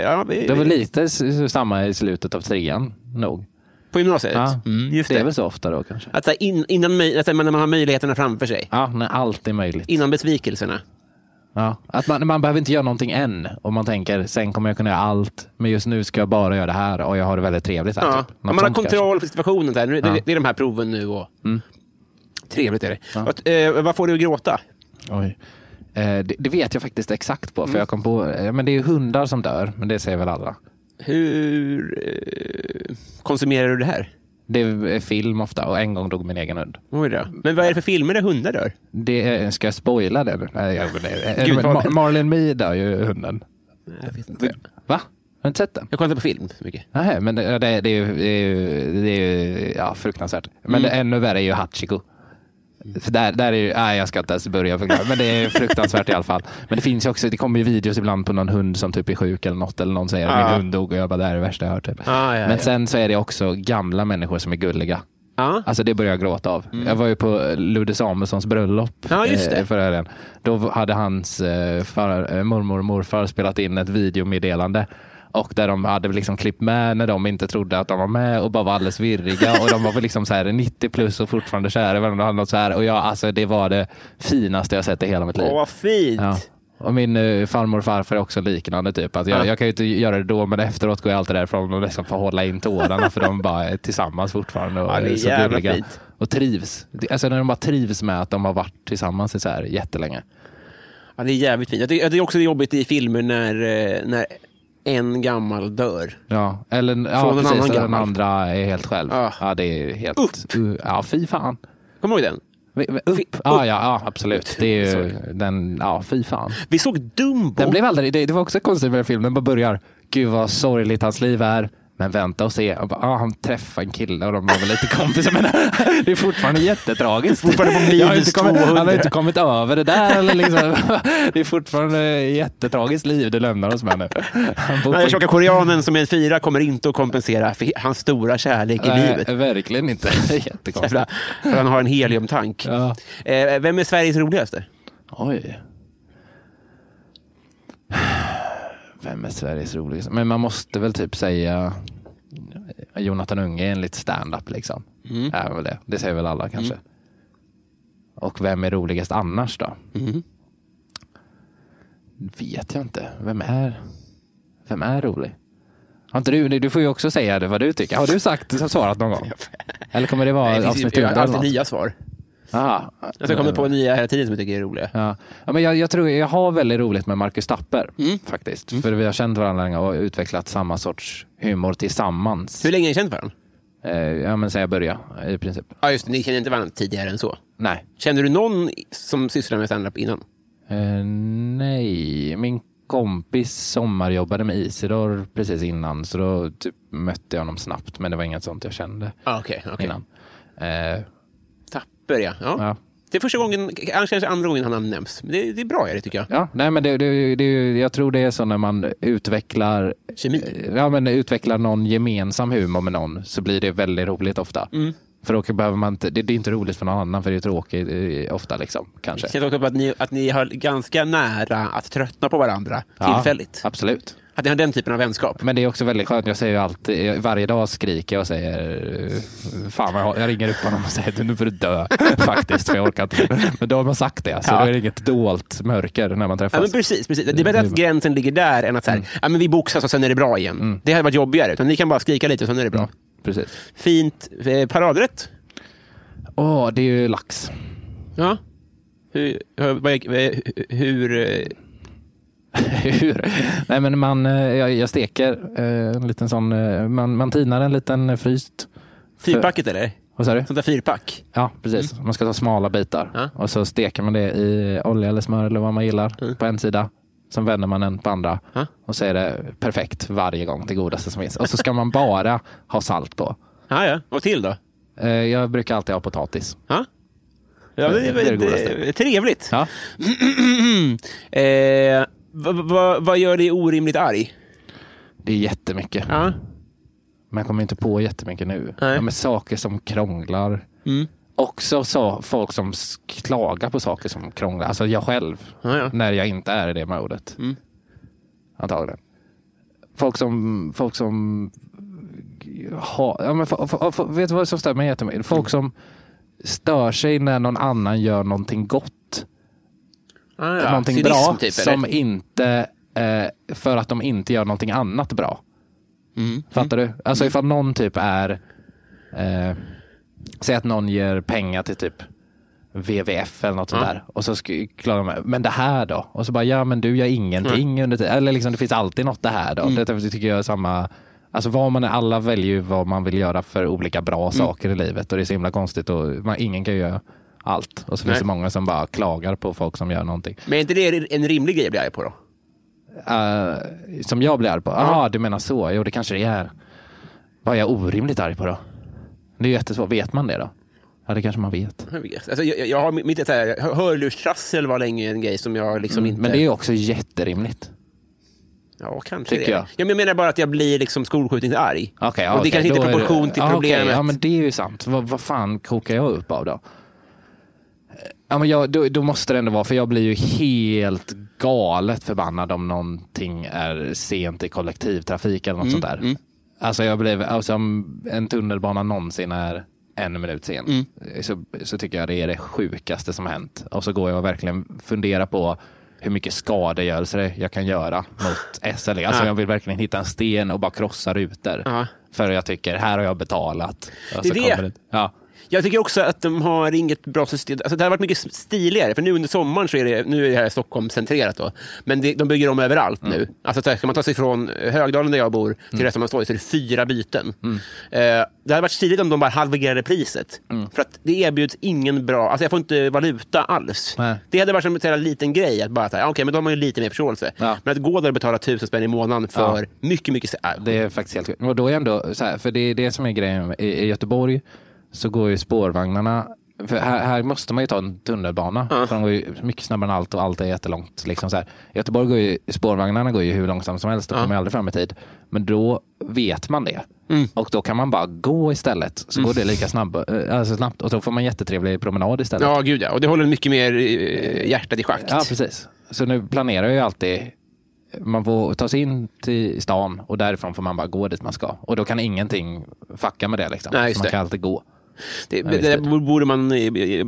ja, vi,
Det var lite s- s- samma i slutet av trean nog.
på gymnasiet.
Ja,
Mm, just
det
det.
är väl så ofta då kanske.
Att så här, in, innan, möj- att så här, när man har möjligheterna framför sig.
Ja, när allt är möjligt.
Innan besvikelserna.
Ja, att man, man behöver inte göra någonting än. Och man tänker, sen kommer jag kunna göra allt. Men just nu ska jag bara göra det här och jag har det väldigt trevligt här.
Ja.
typ. Något
Man har
sånt kanske.
kontroll på situationen. Så här. Nu, det,
Ja. Mm.
det är de här proven nu. Och... Trevligt är det.
Ja.
Att, eh, vad får du att gråta?
Oj. Eh, det, det vet jag faktiskt exakt på. För
Mm.
jag kom på, eh, men det är ju hundar som dör. Men det säger väl alla.
Hur eh, konsumerar du det här?
Det är film ofta och en gång dog min egen hund.
Oj då. Men vad är det för filmer där hundar dör?
Det, är- ska jag spoila det? nu? Nej, jag, nej.
Gud,
Eh,
vad-
Mar- Marlon Mee dör ju hunden. Va? Har du inte sett den?
Jag kollar inte på film så mycket.
Nej, men det, det, det är ju, det är ju, det är ju ja, fruktansvärt. Men det,
Mm.
ännu värre är ju Hachiko. För där, där är ju, nej, jag ska inte ens börja förklara, men det är fruktansvärt i alla fall. Men det finns ju också, det kommer ju videos ibland på någon hund som typ är sjuk eller något, eller någon säger att
Ja.
min hund dog och jag bara, det här är det värsta jag har hört. Typ.
Ja, ja,
men
ja.
sen så är det också gamla människor som är gulliga.
Ja. Mm.
Alltså det börjar jag gråta av. Jag var ju på Ludde Samuelssons bröllop
Ja, just det.
eh, förra helgen. Då hade hans eh, far, eh, mormor och morfar spelat in ett videomeddelande. Och där de hade liksom klippt med när de inte trodde att de var med och bara var alldeles virriga. Och de var väl liksom så här 90 plus och fortfarande kära i varandra. och hade något så här. Och jag, alltså, det var det finaste jag sett i hela mitt liv.
Åh, vad fint!
Ja. Och min eh, farmor och farfar är också liknande. Typ. Att jag,
Ja.
jag kan ju inte göra det då, men efteråt går jag alltid därifrån och liksom får hålla in tårarna för de bara är tillsammans fortfarande och
Ja, det är
är så
jävla
gulliga.
fint.
Och trivs. Det- Alltså när de bara trivs med att de har varit tillsammans i så här jättelänge.
Ja, det är jävligt fint. Jag tycker, jag tycker också det är jobbigt i filmer när, eh, när en gammal dör.
Ja, eller ja,
Från en
precis.
annan
och den
gammal.
andra är helt själv.
Ja.
Ja, det är helt...
Upp.
Uh, Ja, fy fan.
Kommer du ihåg den?
V- v- Upp.
Fi-
Ja,
upp.
ja, ja, absolut. Det är ju den... Ja, fy fan.
Vi såg Dumbo.
Den blev aldrig, det, det var också konstigt med den filmen. Den bara börjar. Gud vad sorgligt hans liv är. Men vänta och se. Och bara, ah, han träffar en kille och de var väl lite kompisar. Men det är fortfarande jättetragiskt.
Fortfarande på minus
Jag har inte kommit, han har
200.
inte kommit över det där. Eller liksom. Det är fortfarande ett jättetragiskt liv du lämnar oss med nu. Han bor
Den här
på-
tjocka koreanen som är en fyra kommer inte att kompensera för hans stora kärlek i
Nej,
livet.
Verkligen inte. Jättekonstigt.
Jävla- För han har en heliumtank.
Ja.
Eh, vem är Sveriges roligaste?
Oj. Vem är Sveriges roligaste? Men man måste väl typ säga eh, Jonathan Unge enligt stand-up liksom.
Mm.
Är väl det. det säger väl alla kanske. Och vem är roligast
Mm.
annars då? Vet jag inte. Vem är? Vem är rolig? Har inte du, du får ju också säga det, vad du tycker. Har du sagt, svarat någon gång? Eller kommer det vara
Nej, det finns ju-
avsnitt
jag har
100 eller
alltid
något?
nya svar.
Aha.
Jag ska komma på nya hela tiden som jag tycker är roliga.
Ja. Ja, men jag, jag tror jag har väldigt roligt med Marcus Tapper
Mm.
faktiskt. För vi har känt varandra länge och utvecklat samma sorts humor tillsammans.
Hur länge har ni känt varandra?
Eh, ja, men sen jag började i princip.
Ja, just det, Ni känner inte varandra tidigare än så.
Nej.
Kände du någon som sysslar med standup innan?
Eh, nej, min kompis sommarjobbade med Isidor precis innan så då typ mötte jag honom snabbt men det var inget sånt jag kände
Ah, Okej, okay,
innan. Eh,
Tapper, ja. ja.
Ja.
Det är första gången, annars kanske andra gången han nämns. Men det, det är bra, är det tycker jag.
ja, nej, men det, det, det, jag tror det är så när man utvecklar
Kemi.
ja, men utvecklar någon gemensam humor med någon så blir det väldigt roligt ofta.
Mm.
För då behöver man inte, det, det är inte roligt för någon annan för det är tråkigt eh, ofta liksom kanske.
Det känns också på att ni, att ni har ganska nära att tröttna på varandra tillfälligt.
Ja, absolut.
Att ni har den typen av vänskap.
Men det är också väldigt skönt. Jag säger ju alltid, jag- varje dag skriker jag och säger eh, Fan vad jag, har- jag ringer upp honom och säger att nu får du dö faktiskt för jag orkar inte. Men då har man sagt det så
Ja.
då är det inget dolt mörker när man
Ja, men
träffas.
precis, precis. Det är bättre att
Mm.
gränsen ligger där än att så här, ja, men vi boxas och sen är det bra igen.
Mm.
Det hade varit jobbigare. Utan ni kan bara skrika lite och sen är det bra.
Precis.
Fint. Eh, paradrätt?
Åh, det är ju lax.
Ja. Hur, hur, vad är- eh, hur, eh,
Hur? Nej, men man, eh, jag, jag steker eh, en liten sån, eh, man, man tinar en liten eh, fryst.
fyrpacket eller?
Vad sa du?
Sånt där fyrpack?
Ja, precis. Man ska ta smala bitar
Mm. Ja.
och så steker man det i olja eller smör eller vad man gillar på en sida. Sen vänder man den på andra
Mm. Ja.
och så är det perfekt varje gång, det godaste som finns. Och så ska man bara ha salt på.
Ja, ja. Och till då?
Eh, Jag brukar alltid ha potatis.
Ja. Ja, det,
Det
är
är det
väl-
godaste.
eh, Trevligt.
Ja.
eh, vad, vad, vad gör dig orimligt arg?
Det är jättemycket.
Ja.
Men jag kommer inte på jättemycket nu.
Nej. Mm.
Ja, men saker som krånglar. Också så folk som s- klagar på saker som krånglar. Alltså jag själv.
Ja, ja.
När jag inte är i det modet.
Mm.
Antagligen. Folk som... Folk som ha, ja, men, fo- fo- fo- vet du vad som stör mig jättemycket? Folk
Mm.
som stör sig när någon annan gör någonting gott.
Ah, Ja, ja.
någonting
Cynism,
bra.
typ, eller?
som inte... Eh, för att de inte gör någonting annat bra.
Mm.
Fattar du? Alltså ifall någon typ är, eh, säg att någon ger pengar till typ WWF eller något sånt
Ja.
där. Och så sk- klarar de, men det här då? Och så bara, ja men du gör ingenting under tiden. Eller liksom det finns alltid något det här då.
Mm.
Det, det tycker jag är samma, alltså vad man är, alla väljer ju vad man vill göra för olika bra
Mm.
saker i livet. Och det är så himla konstigt och man, ingen kan ju göra allt. Och så finns
Nej.
det många som bara klagar på folk som gör någonting.
Men är inte det en rimlig grej att bli arg på då?
Eh, som jag blir arg på. Jaha, du menar så. Jo, det kanske det är. Vad är jag orimligt arg på då? Det är ju jättesvårt. Vet man det då? Ja, det kanske man vet.
Jag vet. Alltså, jag, jag har mitt så här, hörlurstrassel var länge en grej som jag liksom inte...
Mm, Men det är ju också jätterimligt.
Ja, kanske det.
tycker jag.
Ja, men jag menar bara att jag blir liksom skolskjutningsarg.
Okej,
och det
okej,
kanske inte
då
är
det-
proportion till
Ja, okej,
problemet.
ja, men det är ju sant. Vad, vad fan kokar jag upp av då? Ja, men jag, då, då måste det ändå vara, för jag blir ju helt galet förbannad om någonting är sent i kollektivtrafik
Mm,
eller något sånt där. Alltså jag blev, alltså om en tunnelbana någonsin är en minut sen
Mm.
så, så tycker jag det är det sjukaste som hänt. Och så går jag och verkligen funderar på hur mycket skadegörelse jag kan göra mot SL. Alltså jag vill verkligen hitta en sten och bara krossa rutor.
Ja.
För jag tycker, här har jag betalat. Och
Det är
så
det.
kommer ja.
Jag tycker också att de har inget bra system. Alltså, det har varit mycket stiligare, för nu under sommaren så är det, nu är det här Stockholm-centrerat. Då. Men det, de bygger om överallt
Mm.
nu. Alltså, så här, ska man ta sig från Högdalen där jag bor till Rösthammarns torg så är det fyra byten.
Mm.
Eh, det hade varit stiligt om de bara halverade priset.
Mm.
För att det erbjuds ingen bra... Alltså jag får inte valuta alls.
Nej.
Det hade varit som en sån här liten grej, att bara så här, ja, okej, men då har man ju lite mer förståelse.
Ja.
Men att gå där och betala tusen spänn i månaden för
Ja.
mycket, mycket... så- Äh,
Det är faktiskt helt sjukt. Och då är ändå så här, för det är det som är grejen. I, i Göteborg så går ju spårvagnarna, för här, här måste man ju ta en tunnelbana, för de går ju mycket snabbare än allt och allt är jättelångt. Liksom så här. I Göteborg går ju spårvagnarna går ju hur långsamt som helst och kommer ju aldrig fram i tid. Men då vet man det. Och då kan man bara gå istället, så går det lika snabb, eh, alltså snabbt. Och då får man jättetrevlig promenad istället.
Ja, gud ja. Och det håller mycket mer eh, hjärtat i schack.
Ja, precis. Så nu planerar jag ju alltid. Man får ta sig in till stan och därifrån får man bara gå dit man ska. Och då kan ingenting fucka med det. Liksom.
Nej, just
så man
det.
kan alltid gå.
Det,
visst,
det där
det. Mm,
borde man eh,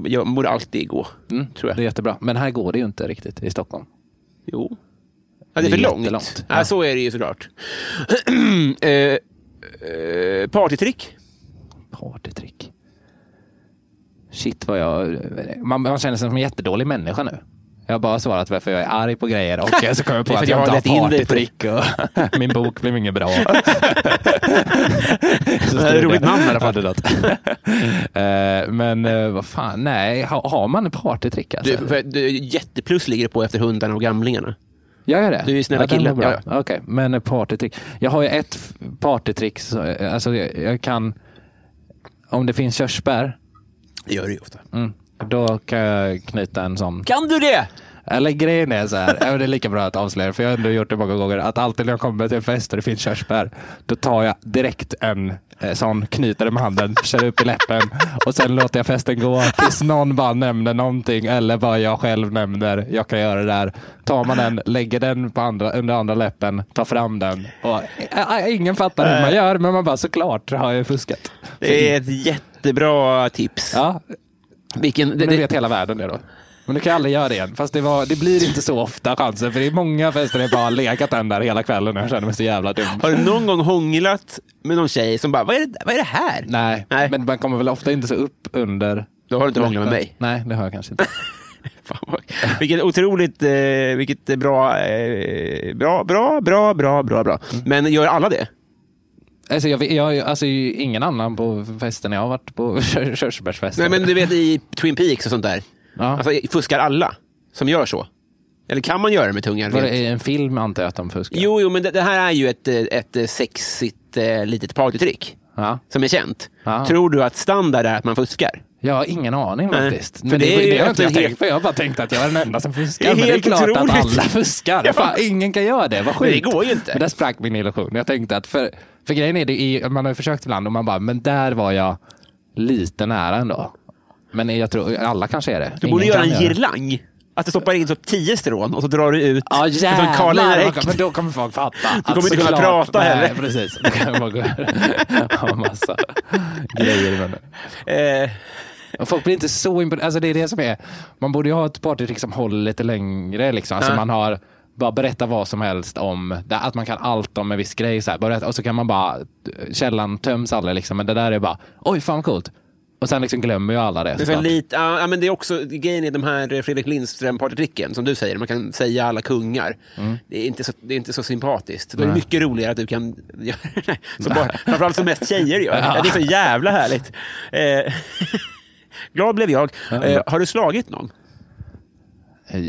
ja, man borde alltid gå, tror
Det är
jag.
jättebra. Men här går det ju inte riktigt i Stockholm.
Jo. Ja, det är för
Det är
långt.
jättelångt.
Ja,
Ja.
så är det ju såklart. eh, eh, partytrick?
Partytrick. Shit vad jag... Man, man känner sig som en jättedålig människa nu. Jag har bara svarat varför jag är arg på grejer och så kommer jag
Det är för
på att
att jag
jag
har
inte
lett
har
in dig på det.
partytrick och min bok blev inget bra. Så
Det är ett roligt namn i alla fall.
Hade något. Eh, Men eh, vad fan, nej, har, har man ett partytrick alltså?
Du, för, du, jätteplus ligger det på efter hundarna och gamlingarna.
Jag gör det?
Du är ju snälla
den
killen.
var bra.
Ja,
Okej, men eh, partytrick. Jag har ju ett f- partytrick. så, eh, Alltså jag, jag kan... Om det finns körsbär,
Det gör det ju ofta.
mm, då kan jag knyta en sån.
Kan du det?
Eller grejen är så här, även det är lika bra att avslöja för jag har ändå gjort det många gånger, att alltid när jag kommer till en fest och det finns körsbär, då tar jag direkt en eh, sån, knyter den med handen, kör upp i läppen och sen låter jag festen gå tills någon bara nämner någonting eller bara jag själv nämner, jag kan göra det där. Tar man den, lägger den på andra, under andra läppen, tar fram den och Ä- ä- ingen fattar hur man gör, men man bara såklart har jag fuskat.
Det är ett jättebra tips.
Ja,
Vilken, det,
men det
det,
vet hela världen det då. Men du kan aldrig göra det igen. Fast det, var, det blir inte så ofta chansen. För det är många fester där jag bara har legat den där hela kvällen och jag känner mig så jävla dum.
har du någon gång hånglat med någon tjej som bara, vad är det, vad är det här?
Nej,
Nej.
men man kommer väl ofta inte så upp under...
Då har du inte hånglat med mig.
Nej, det har jag kanske inte.
Fan vad, vilket otroligt, eh, vilket bra, eh, bra, bra, bra, bra, bra, bra. Men gör alla det?
Alltså, jag, jag, alltså ingen annan på festen jag har varit på, kör-
Nej,
körsbärsfesten.
men du vet i Twin Peaks och sånt där.
Ja.
Alltså, fuskar alla som gör så? Eller kan man göra det med tungan?
Var
rent?
det i en film antar jag att de fuskar?
Jo, jo, men det, det här är ju ett, eh, ett eh, sexigt eh, litet partytrick
Ja.
som är känt.
Ja.
Tror du att standard är att man fuskar?
Jag har ingen aning
Nej,
faktiskt.
för
Men det,
det är
det,
ju
har jag inte jag
öppet helt-
tänkt på. Jag har bara tänkt att jag är den enda som fuskar.
Det är
men det är
helt
klart
otroligt.
att alla fuskar.
Ja.
Fan, ingen kan göra det. Vad
Men
sjukt.
det går ju inte.
Men där sprack min illusion. Jag tänkte att, för, för grejen är, det är, man har ju försökt ibland och man bara, men där var jag lite nära ändå. Men jag tror, alla kanske är det.
Du borde göra en girlang. Att du stoppar in så tio strån och så drar du ut.
Ja
Det är som
jävlar,
Karl Erik.
vad- men då kommer folk fatta. Du
kommer inte kunna prata
nej,
heller.
precis. Då kan jag bara gå ha massa grejer i munnen.
Eh,
Och Folk blir inte så imponerade. Alltså det är det som är. Man borde ju ha ett partytrick som håller lite längre. Liksom. Alltså
Ja.
Man har bara berätta vad som helst om, det- att man kan allt om en viss grej. Så här. Bara Berätta, och så kan man bara, källan töms aldrig liksom. Men det där är bara, oj fan vad coolt. Och sen liksom glömmer ju alla det.
men för
såklart.
lite, ja, ja, men det är också grejen i de här eh, Fredrik Lindström-partytricken som du säger. Man kan säga alla kungar.
Mm.
Det, är inte så, det är inte så sympatiskt. Då är det mycket roligare att du kan göra det. Så bara, framförallt som mest tjejer gör. Ja. Det är så jävla härligt. Eh, glad blev jag. Eh, har du slagit någon?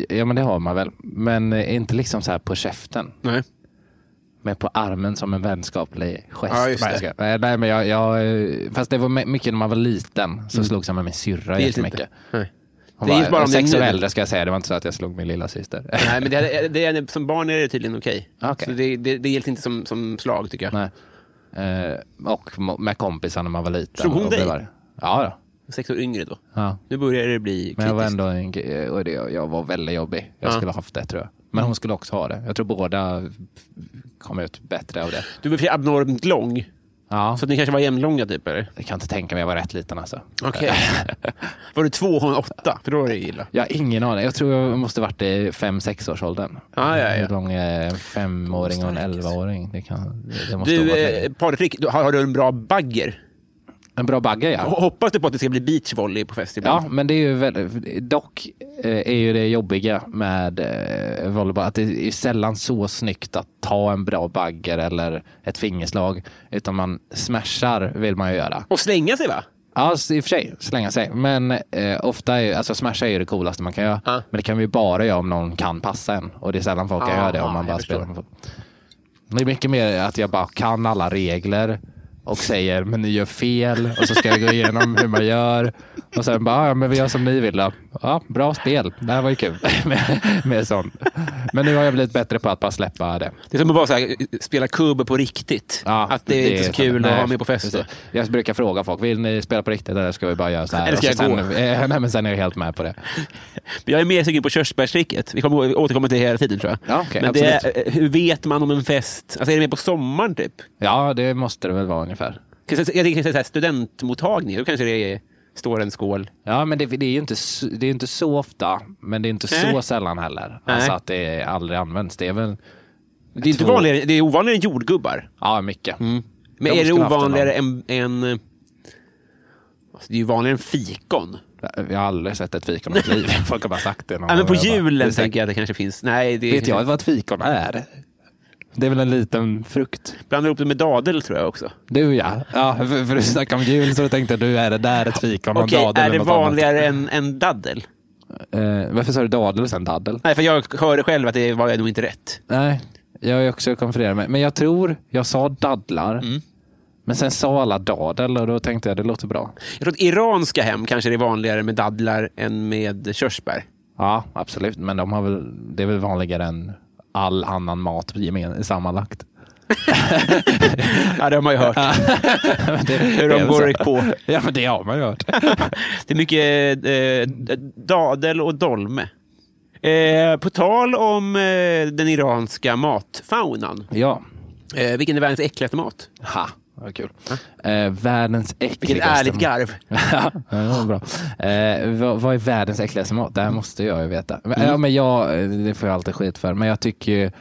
Ja men det har man väl. Men eh, inte liksom så här på käften.
Nej.
Men på armen som en vänskaplig gest.
Ja, just
Nej, jag
det.
ska- Nej, nej, men jag, jag, eh, fast det var my- mycket när man var liten. Så slogs jag med min syrra
Mm. Det gills inte.
jättemycket.
Nej.
Hon
Det är
var
just bara om det är
sex år
nu.
äldre ska jag säga, det var inte så att jag slog min lilla syster.
Nej, men det, är- det, är- som barn är det tydligen okej.
Okej.
Så det, det, det gills inte som, som slag, tycker jag.
Nej. Eh, och mo- med kompisar när man var liten.
Slog hon
och blev
dig?
arg. Ja, då.
Sex år yngre då.
ja.
Nu börjar det bli kritiskt.
Men jag var ändå en, ki- och det, jag var väldigt jobbig. Jag
Ja.
skulle ha haft det tror jag. Men hon skulle också ha det. Jag tror båda kom ut bättre av det.
Du var för sig abnormt lång,
Ja.
så att ni kanske var jämnlånga typ, eller?
Jag kan inte tänka mig, jag var rätt liten alltså.
Okej. var du två och hon åtta? För då var det ju illa.
Jag har ingen aning. Jag tror jag måste varit i fem, sex års åldern.
Ja, ja, ja.
Hur lång är en femåring och en elvaåring? Det, kan, det måste
Du,
ha varit
eh,
länge.
partytrick, du- har, har du en bra bagger?
En bra bagge ja.
Ho- Hoppas du på att det ska bli beachvolley på fest ibland?
Ja, men det är ju väldigt, dock eh, är ju det jobbiga med eh, volleyboll att det är sällan så snyggt att ta en bra bagger eller ett fingerslag, utan man smashar vill man ju göra.
Och slänga sig, va?
Ja, s- i och för sig, slänga sig. Men eh, ofta är ju, alltså smasha är ju det coolaste man kan göra.
Ja.
Men det kan vi ju bara göra om någon kan passa en. Och det är sällan folk kan
Aha,
göra det om man
Ah, jag
bara
förstår.
spelar med folk. Det är mycket mer att jag bara kan alla regler och säger men ni gör fel och så ska jag gå igenom hur man gör. Och sen bara, ja men vi gör som ni vill då. Ja, bra spel. Det här var ju kul med, med sånt. Men nu har jag blivit bättre på att bara släppa det.
Det är som att bara så här, eh, spela kubb på riktigt.
Ja,
att det är inte så kul
nej,
att ha med på fester.
precis. Jag brukar fråga folk, vill ni spela på riktigt eller ska vi bara göra så här?
Eller ska
Och så
jag
sen,
gå?
eh, nej, men sen är jag helt med på det.
Men Jag är mer sugen på körsbärstricket. Vi kommer återkomma till det hela tiden tror jag.
Ja, okej,
Men det, eh,
absolut.
hur vet man om en fest? Alltså är det mer på sommaren typ?
Ja, det måste det väl vara ungefär.
Jag tänker så här, studentmottagning, då kanske det är står en skål.
Ja, men det, det är ju inte, s- det är inte så ofta, men det är inte
Nej.
så sällan heller.
Nej.
Alltså att det aldrig används. Det är väl...
Det är, inte
tror-
vanligare, det är ovanligare än jordgubbar.
Ja, mycket.
Mm. Men
De
är det
skulle haft en
ovanligare än... än eh, alltså det är ju vanligare än fikon.
annan. Jag har aldrig sett ett fikon i mitt liv. Folk har bara sagt det. någon
Ja, men
gång.
på
Jag bara,
julen
det är säkert-
tänker jag att det kanske finns. Nej, det
Vet jag vad ett fikon är? Det är väl en liten frukt?
blandar ihop det med dadel tror jag också.
Du ja. ja för, för du snackade om jul så då tänkte jag, du är det där ett fikon och en
Okej,
dadel
är
eller
det
något annat?
vanligare än, än daddel?
Eh, varför sa du dadel och sen daddel?
Nej, för jag hörde själv att det var nog inte rätt.
Nej, jag är också konfunderad med. Men jag tror jag sa dadlar. Men sen sa alla dadel och då tänkte jag det låter bra.
Jag tror att iranska hem kanske det är vanligare med dadlar än med körsbär.
Ja, absolut. Men de har väl, det är väl vanligare än all annan mat gemen, sammanlagt.
Ja, det har man ju hört. Hur
det är
de
väl
går
så.
på.
Ja, men det har man ju hört.
Det är mycket eh, dadel och dolme. Eh, på tal om eh, den iranska matfaunan.
Ja.
Eh, vilken är världens äckligaste mat?
Ha, vad kul. Eh, världens äckligaste
Vilket ärligt
mat.
garv.
ja, det var bra. Eh, vad, vad är världens äckligaste mat? Det här måste jag ju veta. Men, Ja, men jag, det får jag alltid skit för, men jag tycker ju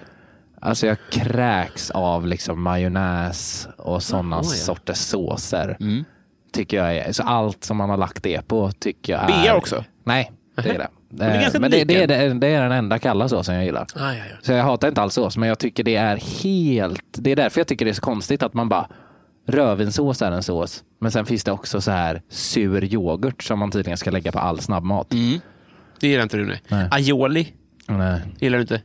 Alltså jag kräks av liksom majonnäs och sådana sorters såser.
Mm.
Tycker jag är, så allt som man har lagt det på tycker jag är...
Bea också?
Nej, det är det.
är
Eh,
ganska
Men det, det, är,
lik
den- det är den enda kalla såsen jag gillar.
Aj, aj, aj.
Så jag hatar inte alls sås, men jag tycker det är helt... Det är därför jag tycker det är så konstigt att man bara... Rödvinssås är en sås, men sen finns det också så här sur yoghurt som man tydligen ska lägga på all snabbmat.
Mm. Det gillar inte du nu. Aioli
Nej.
gillar du inte.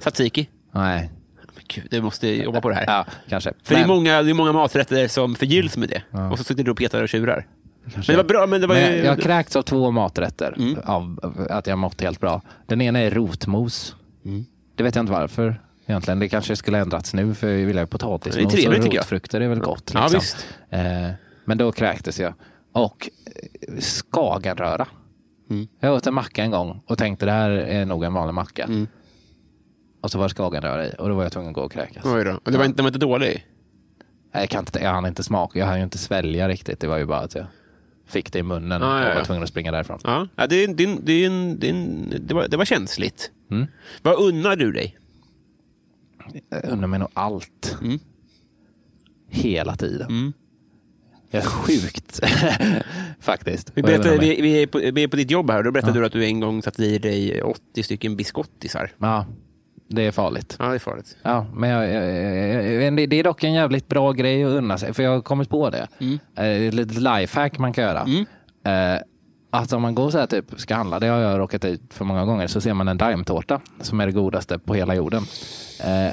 Tzatziki.
Nej.
Men gud, du måste jobba på det här.
Ja, kanske.
För det är,
Men-
många, det är många maträtter som förgylls med det. Och så sitter du och petar och tjurar. Men det var bra. Men det var
Men
ju... Mm.
jag har kräkts av två maträtter av av att jag mått helt bra. Den ena är rotmos.
Mm.
Det vet jag inte varför egentligen. Det kanske skulle ha ändrats nu för vi vill ha
Det är
potatismos och
trevligt, tycker jag.
rotfrukter är väl gott.
Ja,
Liksom.
visst.
Eh, men då kräktes jag. Och eh, skagenröra.
Mm.
Jag åt en macka en gång och tänkte det här är nog en vanlig macka.
Mm.
Och så var det skagenröra i och då var jag tvungen att gå och kräkas.
Oj då. Och Det var inte, den var inte dålig.
Jag, kan inte, jag hann inte smaka, jag hann ju inte svälja riktigt. Det var ju bara att jag fick det i munnen
Ja, ja,
och var
ja.
tvungen att springa därifrån.
Ja, ja det, är en- det, är en- det, är en- det, är en- det, var, det var känsligt.
Mm.
Vad unnar du dig?
Jag undrar mig nog allt.
Mm.
Hela tiden. Jag är sjukt, faktiskt.
Vi,
Vad jag
berättade,
undrar mig.
vi, vi, är på, vi är på ditt jobb här och då berättade du att du en gång satte i dig 80 stycken biskottisar.
Ja, det är farligt.
Ja, det är farligt.
Ja, men jag, jag, jag, jag, det- det är dock en jävligt bra grej att unna sig, för jag har kommit på det. Mm. Ett litet lifehack man kan göra.
Mm.
Eh, att om man går så här typ, ska handla, det har jag råkat ut för många gånger, så ser man en daimtårta som är det godaste på hela jorden. Eh,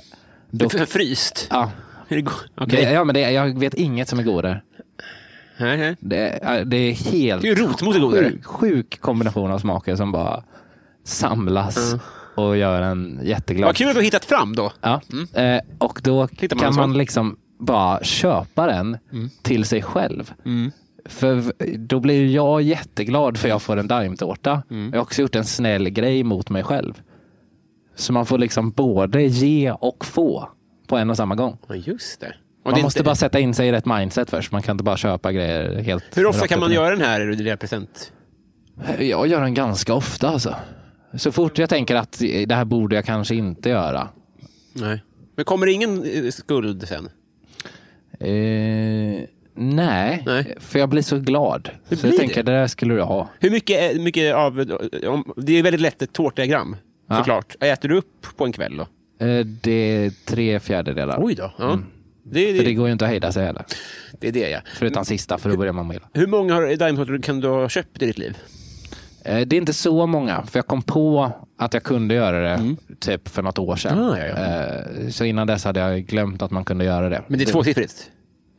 då,
F- Fryst?
ja,
Är det go- Okej.
det, ja, men det, jag vet inget som är godare.
Nej, nej.
Det, är- det är helt
Det är ju rotmos är godare.
sjuk, sjuk kombination av smaker som bara samlas och gör en jätteglad.
Mm. Vad kul att du har hittat fram då.
Ja. Eh, och då
Hittar man
kan
en sån?
man
Mm.
liksom bara köpa den till sig själv. För v- då blir ju jag jätteglad för jag får en daimtårta.
Mm.
Jag har också gjort en snäll grej mot mig själv. Så man får liksom både ge och få på en och samma gång.
Ja, just det. Och det
Man
är
måste
inte-
bara sätta in sig i rätt mindset först. Man kan inte bara köpa grejer helt
Hur ofta
rakt
kan
upp
man
och ner.
göra den här lilla present?
Jag gör den ganska ofta alltså. Så fort jag tänker att det här borde jag kanske inte göra.
Nej. Men kommer det ingen eh, skuld sen?
Eh, nej,
Nej.
för jag blir så glad. så
blir
jag
det?
tänker det där skulle du ha.
Hur mycket, eh, mycket av... om- Det är väldigt lätt ett tårtdiagram,
Ja.
såklart. Äter du upp på en kväll då?
Eh, det är tre fjärdedelar.
Oj då. Ja. Det,
För
det,
det går ju inte att hejda sig heller.
det är det, ja.
Förutom sista, för då börjar man må illa.
Hur många har- diamondtårtor kan du ha köpt i ditt liv?
Eh, det är inte så många, för jag kom på att jag kunde göra det typ för något år sedan.
Mm. Ah, ja, ja.
Eh, så innan dess hade jag glömt att man kunde göra det.
Men det är tvåsiffrigt.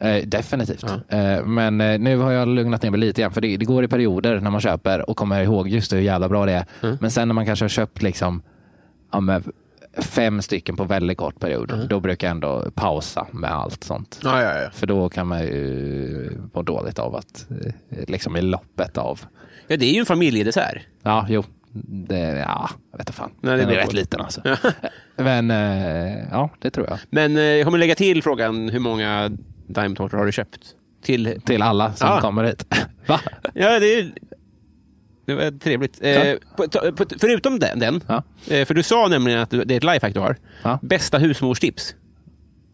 Eh, definitivt. Eh, men eh, nu har jag lugnat ner mig lite igen. För det, det går i perioder när man köper och kommer ihåg just hur jävla bra det är.
Mm.
Men sen när man kanske har köpt liksom, ja, men fem stycken på väldigt kort period.
Mm.
Då brukar jag ändå pausa med allt sånt.
Ja, ja, ja.
För då kan man ju må dåligt av att, eh, liksom i loppet av.
ja det är ju en familjedessert.
Ja, jo. Det, ja, jag vet inte fan.
Nej, det
Den är
beror på.
rätt liten alltså. men eh, ja, det tror jag.
Men eh, jag kommer lägga till frågan hur många diamondtårtor har du köpt? till...
till alla som
Ah.
kommer hit. Va?
Ja, det är... Det var trevligt. Eh, på, ta- på, förutom den, den
Ja.
eh, för du sa nämligen att du- det är ett lifehack du har.
Ja.
Bästa husmorstips.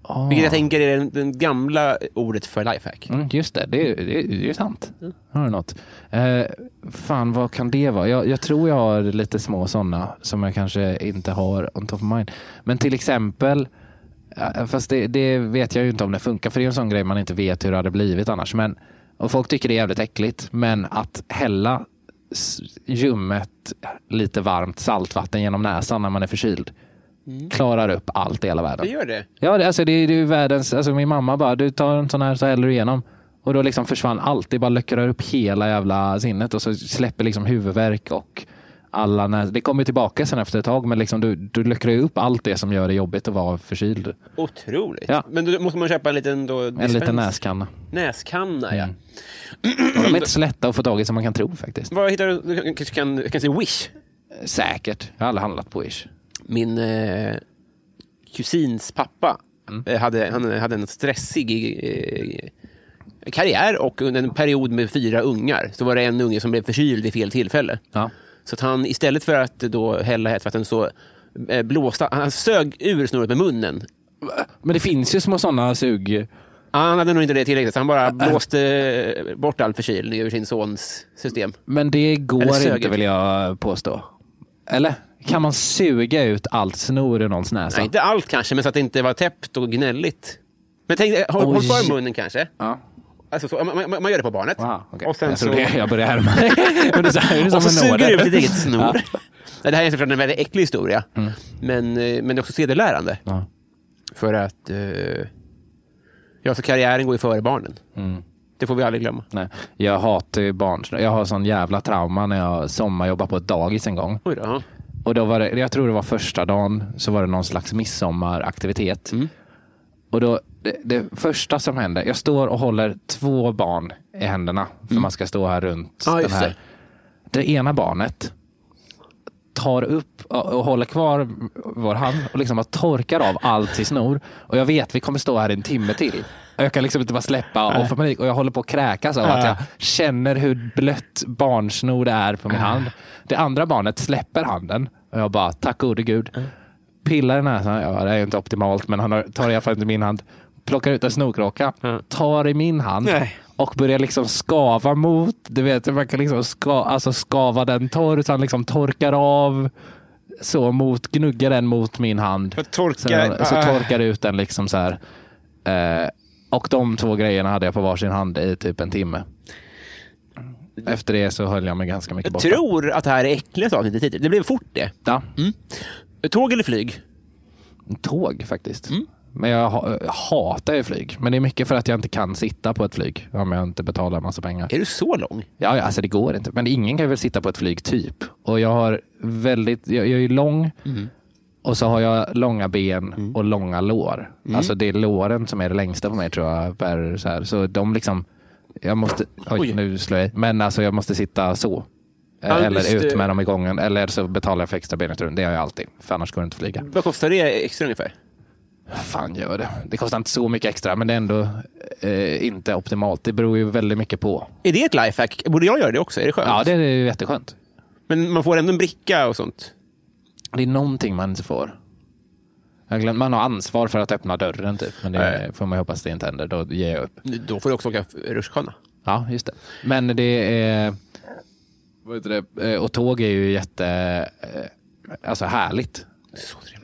Ah.
Vilket jag tänker är det den gamla ordet för lifehack.
Mm, just det, det, är- det, är- det är ju sant. Har du något? Eh, fan, vad kan det vara? Jag, jag tror jag har lite små sådana som jag kanske inte har on top of mind. Men till exempel, eh, fast det, det vet jag ju inte om det funkar, för det är en sån grej man inte vet hur det hade blivit annars. Men, och folk tycker det är jävligt äckligt, men att hälla s- ljummet lite varmt saltvatten genom näsan när man är förkyld klarar upp allt i hela världen.
Det gör det.
Ja, det, alltså det, är- det är ju världens... Alltså min mamma bara, du tar en sån här så häller du igenom. Och då liksom försvann allt. Det bara löckrar upp hela jävla sinnet och så släpper liksom huvudvärk och alla när, Det kommer ju tillbaka sen efter ett tag, men liksom du, du löckrar ju upp allt det som gör det jobbigt att vara förkyld.
Otroligt.
Ja.
Men då måste man köpa en liten... Då,
En
dispens-
liten näskanna.
Näskanna, ja.
Mm. De är inte så lätta att få tag i som man kan tro faktiskt.
Vad hittar du? Du kanske kan, kan säga Wish.
Säkert. Jag har aldrig handlat på Wish.
Min eh, kusins pappa
Mm.
eh, hade, han hade en stressig eh, karriär och under en period med fyra ungar så var det en unge som blev förkyld vid fel tillfälle.
Ja.
Så att han istället för att då hälla hetvatten så eh, blåste han sög ur snurret med munnen.
Men det finns ju små sådana sug...
Han hade nog inte det tillräckligt så han bara blåste eh, bort all förkylning ur sin sons system.
Men det
Eller
går
sög
inte
ut.
vill jag påstå. Eller? Kan man suga ut allt snor ur någons näsa?
Nej, inte allt kanske, men så att det inte var täppt och gnälligt. Men tänk, dig, håll, håll
Oj.
för munnen kanske.
Ja.
Alltså, så, man, man, man gör det på barnet.
Wow, okej.
Och sen
jag,
så,
tror det, jag börjar härma dig. Men det är så här, det är som
och så
en
suger
nåder.
du ut ditt eget snor.
Ja. Mm.
Nej, Det här är såklart en väldigt äcklig historia. Men, eh, men det är också sedelärande.
Ja.
För att eh, ja, så karriären går ju före barnen.
Mm.
Det får vi aldrig glömma.
Nej, jag hatar ju barn. Jag har sån jävla trauma när jag sommarjobbade på ett dagis en gång.
Oj då. ja.
Och då var det, jag tror det var första dagen, så var det någon slags midsommaraktivitet.
Mm.
Och då, det, det första som hände, jag står och håller två barn i händerna, för man ska stå här runt
Mm. Ja,
den
just
här.
det.
Det ena barnet tar upp och och håller kvar vår hand och liksom bara torkar av allt i snor. Och jag vet, vi kommer stå här en timme till. Jag kan liksom inte bara släppa och få panik. Och jag håller på att kräkas av att jag känner hur blött barnsnor det är på min hand. Det andra barnet släpper handen och jag bara, tack gode gud. Pillar i näsan, ja det är ju inte optimalt men han har- tar i alla fall inte min hand. Plockar ut en snorkråka, tar i min hand
Nej.
och börjar liksom skava mot, du vet, man kan liksom ska, alltså skava den torr så han liksom torkar av så mot, gnuggar den mot min hand.
Jag torkar-
så, så
ah.
torkar ut den liksom så här. Eh, och de två grejerna hade jag på varsin hand i typ en timme. Efter det så höll jag mig ganska mycket
Jag
borta.
tror att det här är äckligaste avsnittet hittills. Det blev fort det.
Ja,
Tåg eller flyg?
tåg faktiskt.
Mm.
Men jag ha- jag hatar ju flyg. Men det är mycket för att jag inte kan sitta på ett flyg om jag inte betalar massa pengar.
Är du så lång?
Ja, ja, alltså det går inte. Men ingen kan väl sitta på ett flyg typ. Och jag har väldigt, jag, jag är ju lång
Mm.
och så har jag långa ben och långa lår.
Mm.
Alltså det är låren som är det längsta på mig tror jag. Per, så, här. så de liksom, jag måste, oj,
Oj.
nu slår jag i. Men alltså jag måste sitta så. Eh,
Ja, just
Eller ut
det.
med dem i gången. Eller så betalar jag för extra benutrymme. Det gör jag alltid. För annars går det inte att flyga.
Vad kostar det extra ungefär?
Fan gör det. Det kostar inte så mycket extra men det är ändå eh, inte optimalt. Det beror ju väldigt mycket på.
Är det ett lifehack? Borde jag göra det också? Är det skönt?
Ja, det är ju jätteskönt.
Men man får ändå en bricka och sånt.
Det är någonting man inte får. Jag glöm, man har ansvar för att öppna dörren typ. Men det
Nej.
får man ju hoppas det inte händer. Då ger jag upp.
Då får du också åka f- rutschkana.
Ja, just det. Men det är... Vad heter det? Eh, Och tåg är ju jätte... eh, Alltså härligt.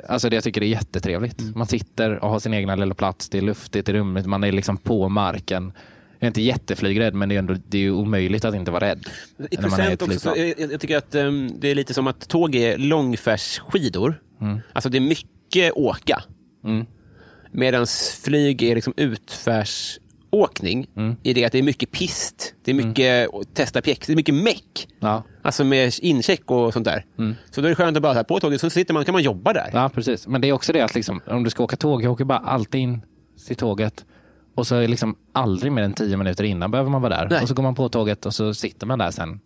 Alltså det jag tycker det är jättetrevligt.
Mm.
Man sitter och har sin egna lilla plats. Det är luftigt, det är rumligt. Man är liksom på marken. Jag är inte jätteflygrädd men det är, ändå, det är ju omöjligt att inte vara rädd.
I
när man är i
procent
ett
också, så-
flygplan.
jag, jag jag tycker att ehm, det är lite som att tåg är långfärdsskidor.
Mm.
Alltså det är mycket åka. Medan flyg är liksom utfärsåkning
Mm.
i det att det är mycket pist, det är mycket mm. testa pjäx, det är mycket meck.
Ja.
Alltså med incheck och sånt där. Så då är det skönt att bara så här, på tåget så sitter man, kan man jobba där.
Mm. Ja, precis. Men det är också det att liksom, om du ska åka tåg, jag åker bara alltid in till tåget och så är det liksom aldrig mer än tio minuter innan behöver man vara där.
Nej.
Och så går man på tåget och så sitter man där sen.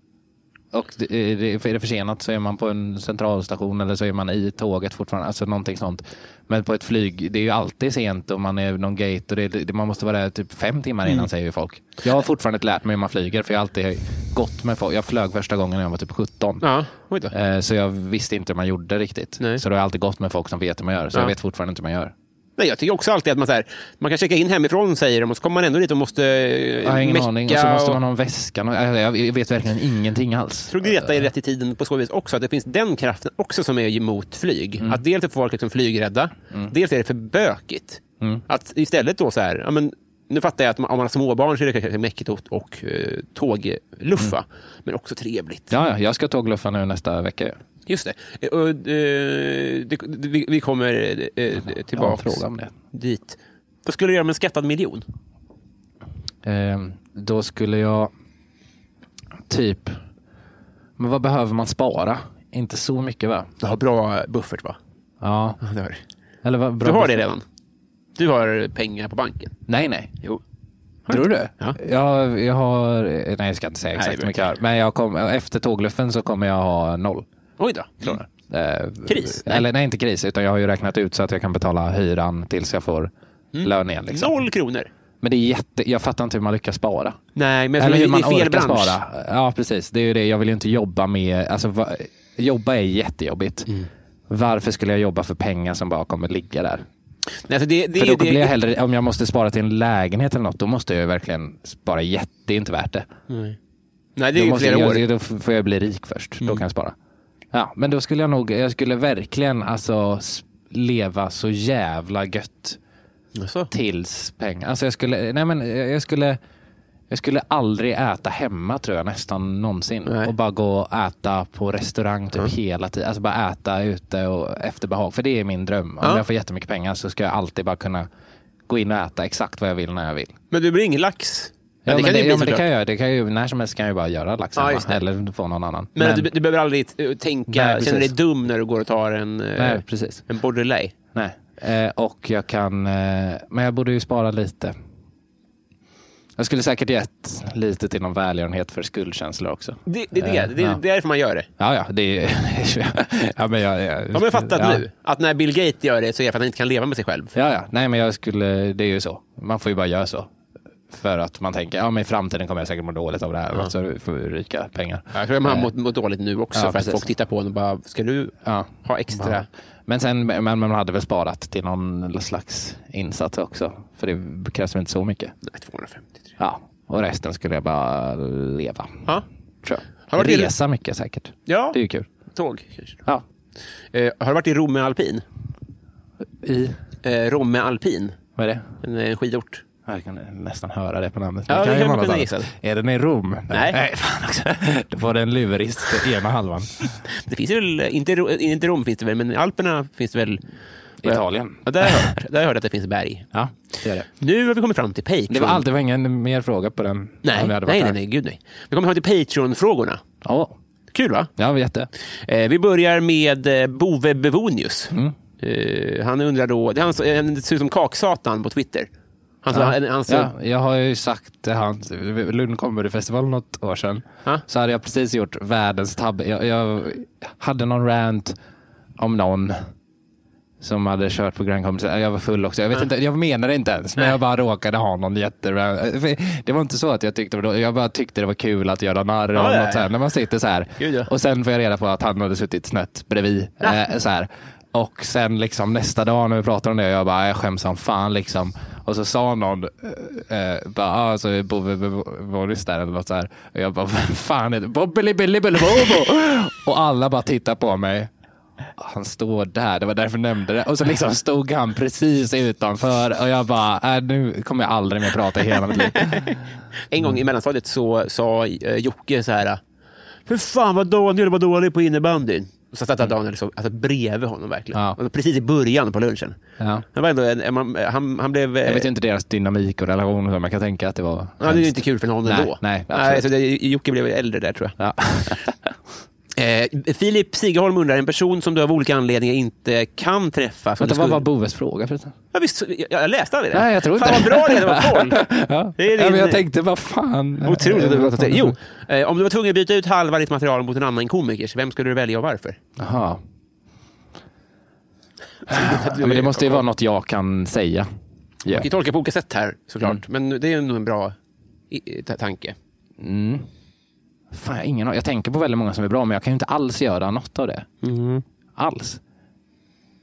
Och det, är det- är det försenat så är man på en centralstation eller så är man i tåget fortfarande. Alltså någonting sånt. Men på ett flyg, det är ju alltid sent och man är någon gate och det, det, man måste vara där typ fem timmar innan säger ju folk. Jag har fortfarande inte lärt mig hur man flyger för jag har alltid gått med folk. Jag flög första gången när jag var typ 17.
Ja, oj då.
Eh, Så jag visste inte hur man gjorde riktigt.
Nej.
Så då har jag alltid gått med folk som vet hur man gör. Så
Ja.
jag vet fortfarande inte hur man gör.
Nej, jag tycker också alltid att man, så här, man kan checka in hemifrån, säger de, och så kommer man ändå dit och måste
Jag har
eh,
ingen
mecka.
aning. Och så måste
och-
man ha en väska. Nå- eh, Jag vet verkligen ingenting alls.
tror Greta är rätt i tiden på så vis också, att det finns den kraften också som är emot flyg.
Mm.
Att dels är folk liksom flygrädda, dels är det för bökigt.
Mm.
Att istället då så här, ja, men, nu fattar jag att man, om man har småbarn så är det kanske mäckigt och, och eh, tågluffa,
Mm.
men också trevligt.
Ja, ja, jag ska tågluffa nu nästa vecka. Jag
Just det. Eh, Och, eh, det, det vi, vi kommer eh,
har en
tillbaka
fråga om det.
dit. Vad skulle du göra med en skattad miljon?
Ehm, Då skulle jag typ... Men vad behöver man spara? Inte så mycket va?
Du har bra buffert va?
Ja.
Ja, det har du.
Eller vad bra
Du har det redan? Du har pengar på banken?
Nej, nej.
Jo.
Tror du?
Ja.
Jag, jag har... Nej, jag ska inte säga exakt
Nej,
hur mycket jag har. Men jag kom, efter tågluffen så kommer jag ha noll.
Oj då. Klara.
Eh,
Kris?
Eller nej, inte kris, utan jag har ju räknat ut så att jag kan betala hyran tills jag får lön igen. Liksom.
Mm. Noll kronor.
Men det är jätte, jag fattar inte hur man lyckas spara.
Nej, men
Eller
det
hur
är
man
fel
orkar
bransch.
spara. Ja, precis. Det är ju det. Jag vill ju inte jobba med... Alltså, va, jobba är jättejobbigt.
Mm.
Varför skulle jag jobba för pengar som bara kommer ligga där?
Nej, alltså det, det, är
För då
ju
blir
det,
jag hellre, om jag måste spara till en lägenhet eller något, då måste jag ju verkligen spara jätte, det är inte värt det.
nej, det är
då,
ju
måste
flera
jag,
år.
då f- får jag bli rik först. Då kan jag spara. Mm. Ja, men då skulle jag nog, jag skulle verkligen alltså s- leva så jävla gött
Alltså.
tills pengar. Alltså jag skulle, nej men jag jag skulle, jag skulle aldrig äta hemma tror jag nästan någonsin.
Nej.
Och bara gå och äta på restaurang typ hela tiden. Alltså bara äta ute och efter behag. För det är min dröm. Om
Ja.
jag får jättemycket pengar så ska jag alltid bara kunna gå in och äta exakt vad jag vill när jag vill.
Men du blir ingen lax.
Ja, men, det,
ju bli
ja, men det
såklart.
kan jag göra. Det kan jag ju, när som helst kan jag ju bara göra lax
Ja,
hemma.
just det.
Eller få någon annan.
Men, Du, du behöver aldrig eh, tänka,
Nej,
känna dig
precis.
dum när du går och tar en, eh,
Nej, precis.
en borderlay.
Nej. Eh, och jag kan... Eh, men jag borde ju spara lite. Jag skulle säkert gett lite till någon välgörenhet för skuldkänslor också.
Det, det, är det,
Eh,
det,
ja.
det är därför man gör det.
Ja, ja. Det är, ja, men jag, jag,
Har man fattat
ja.
nu att när Bill Gates gör det så är det för att han inte kan leva med sig själv.
Ja, ja. Nej, men jag skulle... Det är ju så. Man får ju bara göra så. För att man tänker, ja men i framtiden kommer jag säkert må dåligt av det här. och Så får vi ryka pengar.
Jag tror att man har mått, mått dåligt nu också
Ja,
för
precis.
att folk tittar på en och bara, ska du
Ja.
ha extra?
Men sen, men men man hade väl sparat till någon slags insats också. För det krävs väl inte så mycket.
Nej, 250. tror jag.
Ja, och resten skulle jag bara leva.
Ja,
Tror
Har
jag.
varit i-
Resa mycket säkert.
Ja.
Det är ju kul.
tåg kanske.
Ja.
Eh, har du varit i Romme alpin?
I,
Eh, Romme alpin,
vad är det?
en, en eh, skidort.
Jag kan nästan höra det på namnet.
Ja,
Det
det
ju
kan
vara
man kunna
något annat.
gissa.
Är den i Rom?
Nej.
Nej fan också. Då var det en lurist, ena halvan.
Det finns väl, inte, Ro- inte Rom finns det väl, men i Alperna finns det väl...
Italien.
Ja, där har jag hört, där har jag hört att det finns berg.
Ja, det är det.
Nu har vi kommit fram till Patreon.
Det var, allt, det var ingen mer fråga på den.
Nej,
om vi
nej,
hade varit
nej,
här.
nej, gud nej. Vi kommer fram till Patreon-frågorna.
Ja,
Kul va?
ja, jätte.
Eh, vi börjar med eh, Bove Bevonius.
Mm.
Eh, han undrar då, det, är han, som- han ser ut som Kaksatan på Twitter. Han, ja. han, han,
ja, jag har ju sagt till han, Lund Comedyfestival något år sedan,
Ja.
så hade jag precis gjort världens tabbe. Jag, jag hade någon rant om någon som hade kört på Grand Comedy. Jag var full också. Jag, vet inte, jag menade inte ens, men jag bara råkade ha någon jätterant. Det var inte så att jag tyckte det var dåligt. Jag bara tyckte det var kul att göra narr
Ja,
av
ja,
något så här,
ja.
när man sitter så här.
Gud, ja.
Och sen får jag reda på att han hade suttit snett bredvid. Eh, så här. Och sen liksom nästa dag när vi pratade om det, jag bara, jag skäms som fan liksom. Och så sa någon, eh, eh, bara, ah, så är Bove Boris där eller något så här. Och jag bara, vem fan är det? Bobbelibbelibbelibobo! Och alla bara tittar på mig. Han står där, det var därför jag nämnde det. Och så liksom stod han precis utanför och jag bara, äh, nu kommer jag aldrig mer prata i hela mitt liv.
En gång
Mm.
i mellanstadiet så sa eh, Jocke så här. För fan vad Daniel var dålig på innebandyn. Och så satt Daniel så, alltså, bredvid honom verkligen.
Mm. Ja.
Och precis i början på lunchen.
Ja.
Han, var ändå en, en- man- han, han blev... eh,
Jag vet ju inte deras dynamik och relation, men jag kan tänka att det var
Ja, det är ju inte kul för någon
Nej,
ändå.
nej, absolut.
så det, Jocke blev äldre där tror jag.
Ja.
Eh, Filip Sigerholm undrar, en person som du av olika anledningar inte kan träffa. Som
Vänta,
du
vad
skulle...
var Boves fråga förresten?
ja, visst, jag, jag läste aldrig det.
Nej, jag tror inte
Fan vad bra det är när man får.
ja.
Det är
ja, men
din-
jag tänkte, vad fan.
Otroligt att du
Eh,
har tagit det. Jo, eh, om du var tvungen att byta ut halva ditt material mot en annan komikers, vem skulle du välja och varför?
Jaha. Ja, men det måste ju vara något jag kan säga. Ja.
Vi kan tolka på olika sätt här såklart,
Mm.
men det är nog en bra i- ta- tanke.
Fan, jag, har ingen, an- jag tänker på väldigt många som är bra, men jag kan ju inte alls göra något av det. Alls.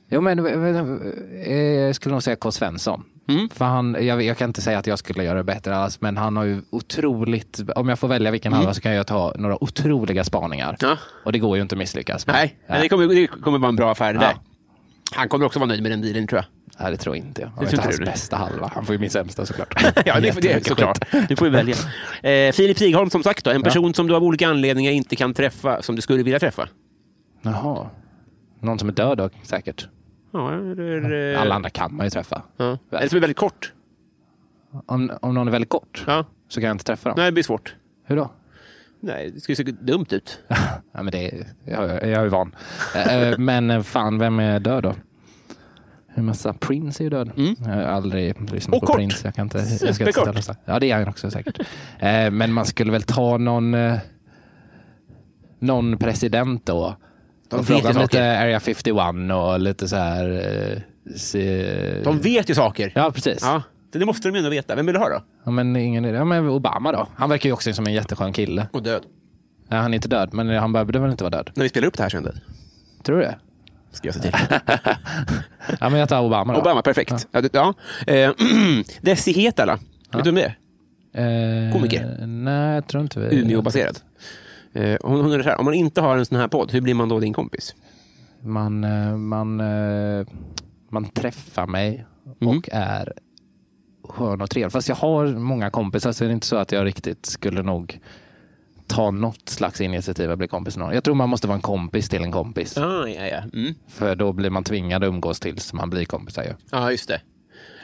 Jo, men eh, jag skulle nog säga K. Svensson.
Mm.
För han, jag, jag kan inte säga att jag skulle göra det bättre alls, men han har ju otroligt, om jag får välja vilken halva så kan jag ta några otroliga spaningar.
Mm. Ja.
Och det går ju inte att misslyckas med.
Nej, men
Ja.
det kommer, det kommer vara en bra affär det
Ja.
där. Han kommer också vara nöjd med den dealen tror jag.
Nej, det tror jag inte. Han
Det
var
tror inte
inte hans
du?
bästa halva. Han får ju min sämsta såklart.
Ja, det, det är
Jättemycket
såklart.
skit.
Du får ju välja. Eh, Filip Sigholm som sagt då, en person som du av olika anledningar inte kan träffa, som du skulle vilja träffa.
Jaha. Någon som är död då, säkert.
Ja, eller... eh,
Alla andra kan man ju träffa.
Ja. Eller som är väldigt kort.
Om, om någon är väldigt kort
Ja.
så kan jag inte träffa dem.
Nej, det blir svårt.
Hur då?
Nej, det skulle se dumt ut.
Ja, men det, jag, jag är ju van. Eh, eh, men eh, fan, vem är död då? En massa Prince är ju död. Jag har aldrig lyssnat
Mm. Och
på
kort.
Prince. Jag kan inte, jag ska inte
Superkort.
ställa oss där. Ja, det är han också säkert. Eh, men man skulle väl ta någon, eh, någon president då.
De
Och fråga
vet ju
om lite
saker.
Area 51 och lite så här... Eh, se,
De vet ju saker.
Ja, precis.
Ja, det det måste de ju ändå veta. Vem vill du ha då?
Ja, men ingen idé. Ja, men Obama då. Han verkar ju också som en jätteskön kille.
Och död.
Nej, han är inte död, men han behövde väl inte vara död?
När vi spelar upp det här sen död.
Tror du det?
Ska jag se till.
Ja, men jag tar Obama då.
Obama, perfekt. Ja. det- Ja. Eh, Desi Hetala, vet du vem det är?
Eh,
Komiker.
Nej, jag tror inte vi...
Umeåbaserad. Eh, Hon undrar så här, om man inte har en sån här podd, hur blir man då din kompis?
Man, eh, man, eh, man träffar mig
Mm.
och är skön och trevlig. Fast jag har många kompisar så det är inte så att jag riktigt skulle nog ta något slags initiativ att bli kompis med någon. Jag tror man måste vara en kompis till en kompis.
Ah, ja, ja. Mm.
För då blir man tvingad att umgås tills man blir kompisar ju.
ja, just det.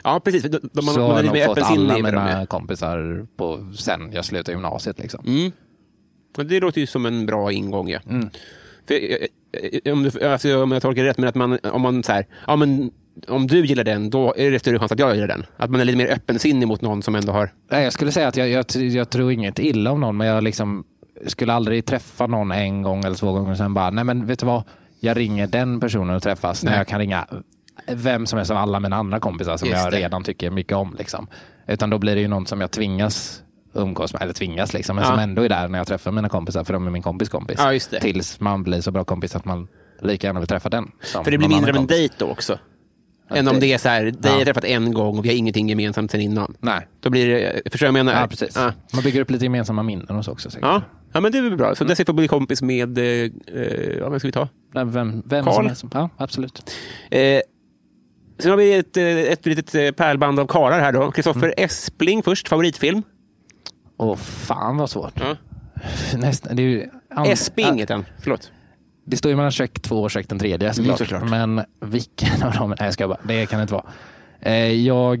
Ja, precis. för då- då- Man,
så
man
har
är lite
jag
mer
nog fått
öppensinnig.
alla
inför dem, ja.
mina kompisar på, sen jag slutade gymnasiet. Liksom.
Men Det låter ju som en bra ingång. Ja. För, eh, eh, om, du, alltså, om jag tolkar det rätt, men att man, om man så här, ja, men, om du gillar den, då är det större chans att jag gillar den. Att man är lite mer öppensinnig mot någon som ändå har...
Nej, jag skulle säga att jag, jag, jag tror inget illa om någon, men jag liksom skulle aldrig träffa någon en gång eller två gånger och sen bara, nej men vet du vad, jag ringer den personen och träffas när jag kan ringa vem som helst av alla mina andra kompisar som
Just
jag
det.
redan tycker mycket om. Liksom. Utan då blir det ju någon som jag tvingas umgås med, eller tvingas liksom, men
Ja.
som ändå är där när jag träffar mina kompisar, för de är min kompis kompis.
Ja, just det.
Tills man blir så bra kompis att man lika gärna vill träffa den. som
För det blir
någon
mindre av
annan
en
kompis.
dejt då också. Än om det är så här, dig har jag träffat en gång och vi har ingenting gemensamt sen innan.
Nej.
Då blir det, förstår du vad jag menar?
Ja, precis.
Ja.
Man bygger upp lite gemensamma minnen och så också. Säkert.
Ja. ja, men det är väl bra. Så Desi får bli kompis med, eh, eh, ja, vem ska vi ta?
Nej, Vem, vem
Carl?
som helst. Ja, absolut.
Eh, sen har vi ett, eh, ett litet eh, pärlband av karlar här då. Kristoffer
Mm.
Espling först, favoritfilm.
Åh, fan vad svårt.
Ja.
Nästan, det, är ju, an-
Esping heter han, förlåt.
det står ju mellan check två och check den tredje såklart.
såklart.
Men vilken av dem? Nej, jag skojar bara. Det kan det inte vara. Eh, Jag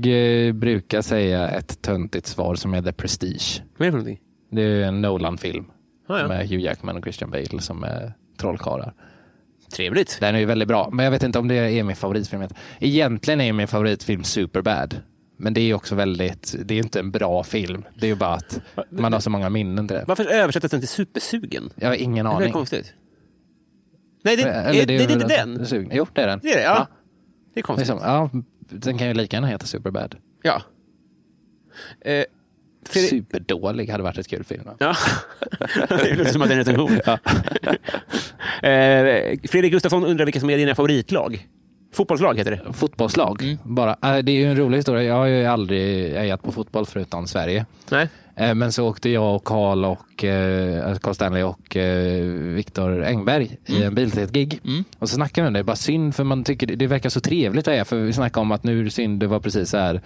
eh, brukar säga ett töntigt svar som är The Prestige.
Vad är det för någonting?
Det är ju en Nolan-film
Ah, ja.
med Hugh Jackman och Christian Bale som är trollkarlar.
Trevligt.
Den är ju väldigt bra, men jag vet inte om det är min favoritfilm. Egentligen är ju min favoritfilm Superbad. Men det är ju också väldigt, det är ju inte en bra film. Det är ju bara att man har så många minnen till det.
Varför översättes den till supersugen?
Jag har ingen
Det är
aning.
konstigt. Nej, det,
Eller
är, det, är
väl
inte
att-
den.
sugen. Jo, det är den.
Det är det, ja. Det är
Det är
konstigt.
som, ja, den kan ju lika gärna heta Superbad.
Ja. Eh, Fredrik-
Superdålig hade varit ett kul film. va?
Ja. Det låter som att det är en recension. Eh, Fredrik Gustafsson undrar vilka som är dina favoritlag. Fotbollslag heter det.
Fotbollslag,
Mm.
bara. Äh, Det är ju en rolig historia. Jag har ju aldrig hejat på fotboll förutom Sverige.
Nej.
Eh, Men så åkte jag och Carl och eh, alltså Carl Stanley och eh, Viktor Engberg
Mm.
i en bil till ett gig. Och så snackade vi om det, bara synd för man tycker det, det verkar så trevligt det är. För vi snackade om att nu är det synd, det var precis så här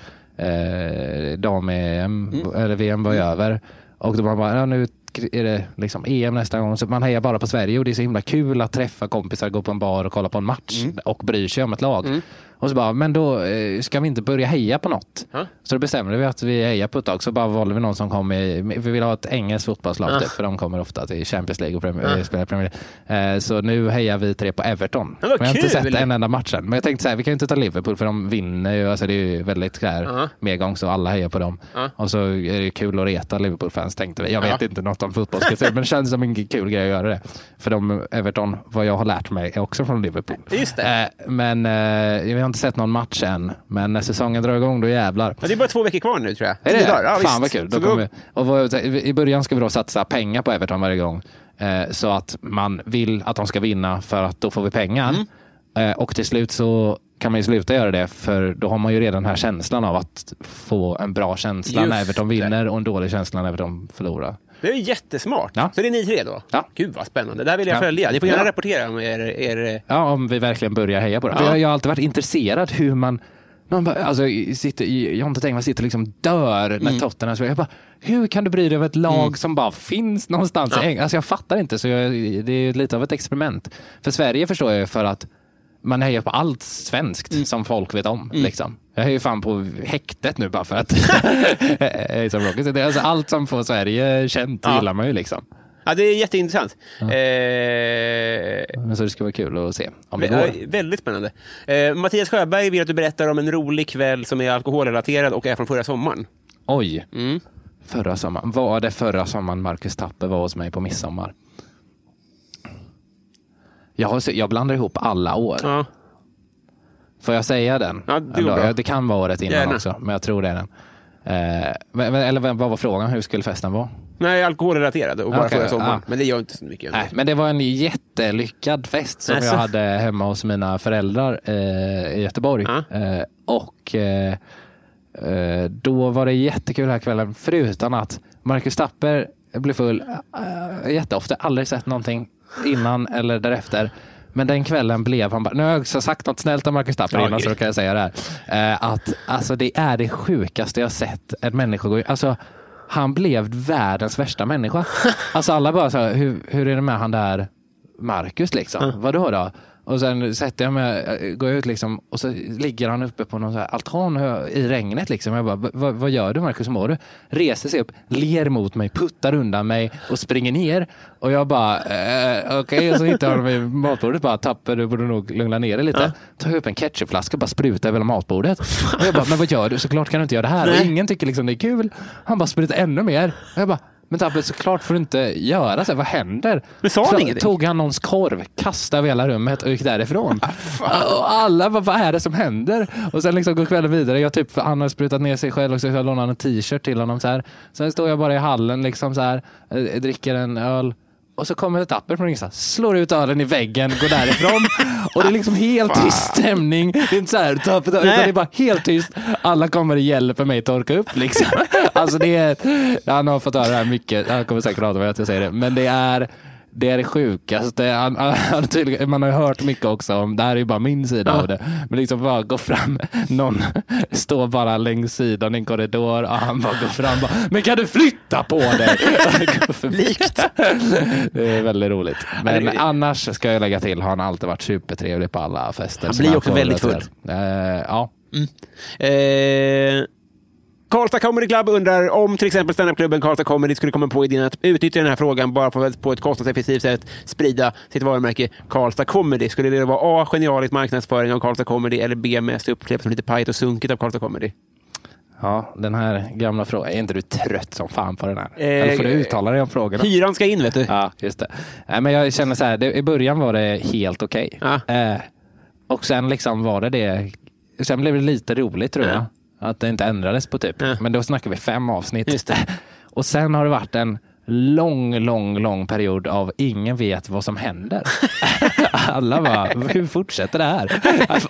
eh, dam-EM,
Mm.
eller VM var ju över. Och då var man bara, ja, nu är det liksom EM nästa gång. Så man hejar bara
Mm.
på Sverige och det är så himla kul att träffa kompisar, gå på en bar och kolla på en match och bryr sig om ett lag. Och så bara, men då eh, ska vi inte börja heja på något? Så då bestämde vi att vi hejar på ett tag. Så bara valde vi någon som kom i, vi vill ha ett engelskt fotbollslag
Ah.
typ, för de kommer ofta till Champions League och prem- eh, spelar Premier League. Eh, Så nu hejar vi tre på Everton.
Men vad
jag har inte
kul!
sett en enda match än. Men jag tänkte så här, vi kan ju inte ta Liverpool för de vinner ju. Alltså det är ju väldigt så här, medgång så alla hejar på dem. Och så är det ju kul att reta Liverpool-fans tänkte vi. Jag vet inte något om fotbollskultur men det känns som en kul grej att göra det. För de Everton, vad jag har lärt mig, är också från Liverpool.
Just det.
Eh, Men eh, vi har inte sett någon match än. Men när säsongen drar igång då jävlar.
Ja, det är bara två veckor kvar nu tror jag.
Är det
Tio
det?
dagar, ja,
Fan vad
visst.
kul.
Så
Då kommer, och vad, I början ska vi då satsa pengar på Everton varje gång. Eh, så att man vill att de ska vinna för att då får vi pengar.
Mm.
Eh, och till slut så kan man ju sluta göra det för då har man ju redan den här känslan av att få en bra känsla
Just
när Everton
det.
vinner och en dålig känsla när Everton förlorar.
Det är ju jättesmart.
Ja.
Så det är ni tre då?
Ja.
Gud vad spännande. Det här vill jag
Ja.
följa. Ni får gärna
Ja.
rapportera om er... er...
Ja, om vi verkligen börjar heja på det. För jag, jag har alltid varit intresserad hur man... Någon bara, alltså, sitter, Jonte Tengvall sitter och liksom dör när Tottenham spelar. Jag bara, hur kan du bry dig om ett lag som bara finns någonstans? i Eng- Alltså, jag fattar inte, så jag, det är lite av ett experiment. För Sverige förstår jag ju för att man hejar på allt svenskt som folk vet om. Liksom. Jag är ju fan på häktet nu bara för att... Ace of Rockets. Det är alltså allt som får Sverige känt gillar man ju. Liksom.
Ja, det är jätteintressant. Eh...
Men så det ska vara kul att se om det
Ja,
går.
väldigt spännande. Eh, Mattias Sjöberg vill att du berättar om en rolig kväll som är alkoholrelaterad och är från förra sommaren.
Oj.
Mm.
Förra sommaren. Var det förra sommaren Marcus Tapper var hos mig på midsommar? Jag, har, se- jag blandar ihop alla år.
Ja.
Får jag säga den?
Ja, det går bra.
Ja, det kan vara året innan
Gärna.
också, men jag tror det är den. Eh, men, men- eller vad vad var frågan? Hur skulle festen vara?
Nej, alkoholrelaterad och bara
Okej,
förra sommaren.
ja.
Men det gör inte så mycket.
Nej, men det var en jättelyckad fest som
Alltså.
jag hade hemma hos mina föräldrar eh, i Göteborg.
Ja.
Eh, och eh, eh, då var det jättekul den här kvällen, förutom att Marcus Tapper blev full eh, jätteofta. Aldrig sett någonting innan eller därefter. Men den kvällen blev han bara, nu har jag också sagt något snällt om Marcus Tapper
Ja,
innan
okej.
så då kan jag säga det här. Eh, att alltså, det är det sjukaste jag sett en människa gå i- Alltså han blev världens värsta människa. Alltså alla bara så här, hur, hur är det med han där Marcus liksom? Vadå då? Och sen sätter jag mig, eh, går jag ut liksom och så ligger han uppe på någon så här altan och jag- i regnet liksom. Jag bara, "Va- vad- vad gör du Marcus, hur mår du? Reser sig upp, ler mot mig, puttar undan mig och springer ner. Och jag bara, eh, okej, och så hittar jag honom i matbordet bara, Tapper du borde nog lugna ner dig lite. Tar jag upp en ketchupflaska och bara sprutar över hela matbordet. Och jag bara, men vad gör du? Såklart kan du inte göra det här. Och ingen tycker liksom det är kul. Han bara sprutar ännu mer. Och jag bara, men Tapper såklart får du inte göra så här. Vad händer?
Men sa han
så
ingenting?
tog han någons korv, kastade över hela rummet och gick därifrån. och alla bara, vad är det som händer? Och sen liksom går kvällen vidare. Jag typ, han har sprutat ner sig själv också, så jag lånade en t-shirt till honom. Så här. Sen står jag bara i hallen, liksom så här, eh, dricker en öl. Och så kommer ett apper från ingenstans, slår ut ölen i väggen, går därifrån. Och det är liksom helt tyst stämning. Det är inte så här, tapp, tapp, utan
Nej.
det är bara helt tyst. Alla kommer och hjälper mig torka upp liksom. Alltså det är, han har fått höra det här mycket. Han kommer säkert hata mig att jag säger det. Men det är det är det sjukaste. Han, han, han tydligen, man har ju hört mycket också om, det här är ju bara min sida av det. Men liksom bara gå fram, någon står bara längs sidan i en korridor och han bara går fram bara, men kan du flytta på dig? Likt. Det är väldigt roligt. Men
det-
annars ska jag lägga till, har han alltid varit supertrevlig på alla fester.
Han
som
blir också
får
väldigt
relaterat.
full.
Eh, ja.
Eh, Karlstad Comedy Club undrar om till exempel standupklubben Karlstad Comedy skulle komma på idén att utnyttja den här frågan bara för att på ett kostnadseffektivt sätt sprida sitt varumärke Karlstad Comedy. Skulle det vara A. Genialisk marknadsföring av Karlstad Comedy eller B. Mest uppkläppt som lite pajigt och sunkigt av Karlstad Comedy?
ja, den här gamla frågan. Är inte du trött som fan på den här?
Eh,
Eller får du uttala dig om frågorna?
Hyran ska in, vet du.
Ja, just det. Nej, men jag känner så här, det, i början var det helt okej.
Ja.
Eh, och sen liksom var det det. Sen blev det lite roligt tror
Ja.
jag. Att det inte ändrades på typ.
Ja.
Men då snackar vi fem avsnitt.
Just det.
Och sen har det varit en lång, lång, lång period av ingen vet vad som händer. Alla bara, hur fortsätter det här?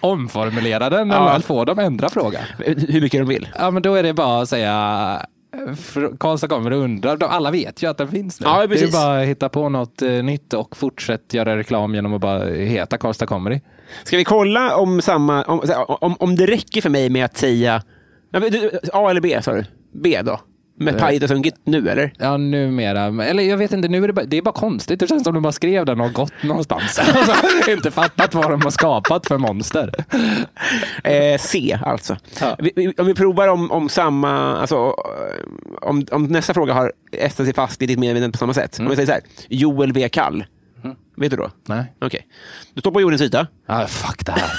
Omformulera den eller få dem ändra frågan.
Hur mycket de vill.
Ja, men då är det bara att säga fr- Karlstad kommer och undrar. De- Alla vet ju att den finns nu.
Ja,
det
precis.
är bara att hitta på något eh, nytt och fortsätt göra reklam genom att bara heta Karlstad Comedy.
Ska vi kolla om, samma, om, om, om det räcker för mig med att säga... Ja, men du- A eller B, sa du? B då?
Eh.
Med Pajdasunket nu eller?
Ja, numera. Men- Eller jag vet inte, nu är det bara, det är bara konstigt. Det känns som de bara skrev den och har gått någonstans. Alltså, inte fattat vad de har skapat för monster.
Eh, C alltså.
Ja.
Vi, vi, om vi provar om, om samma, alltså, eh, om, om nästa fråga har ästat sig fast i ditt medvetande på samma sätt.
Mm.
Om vi säger så här, Joel V. Kall. Vet du då?
Nej.
Okej. Du står på jordens yta.
Ah, fuck det här.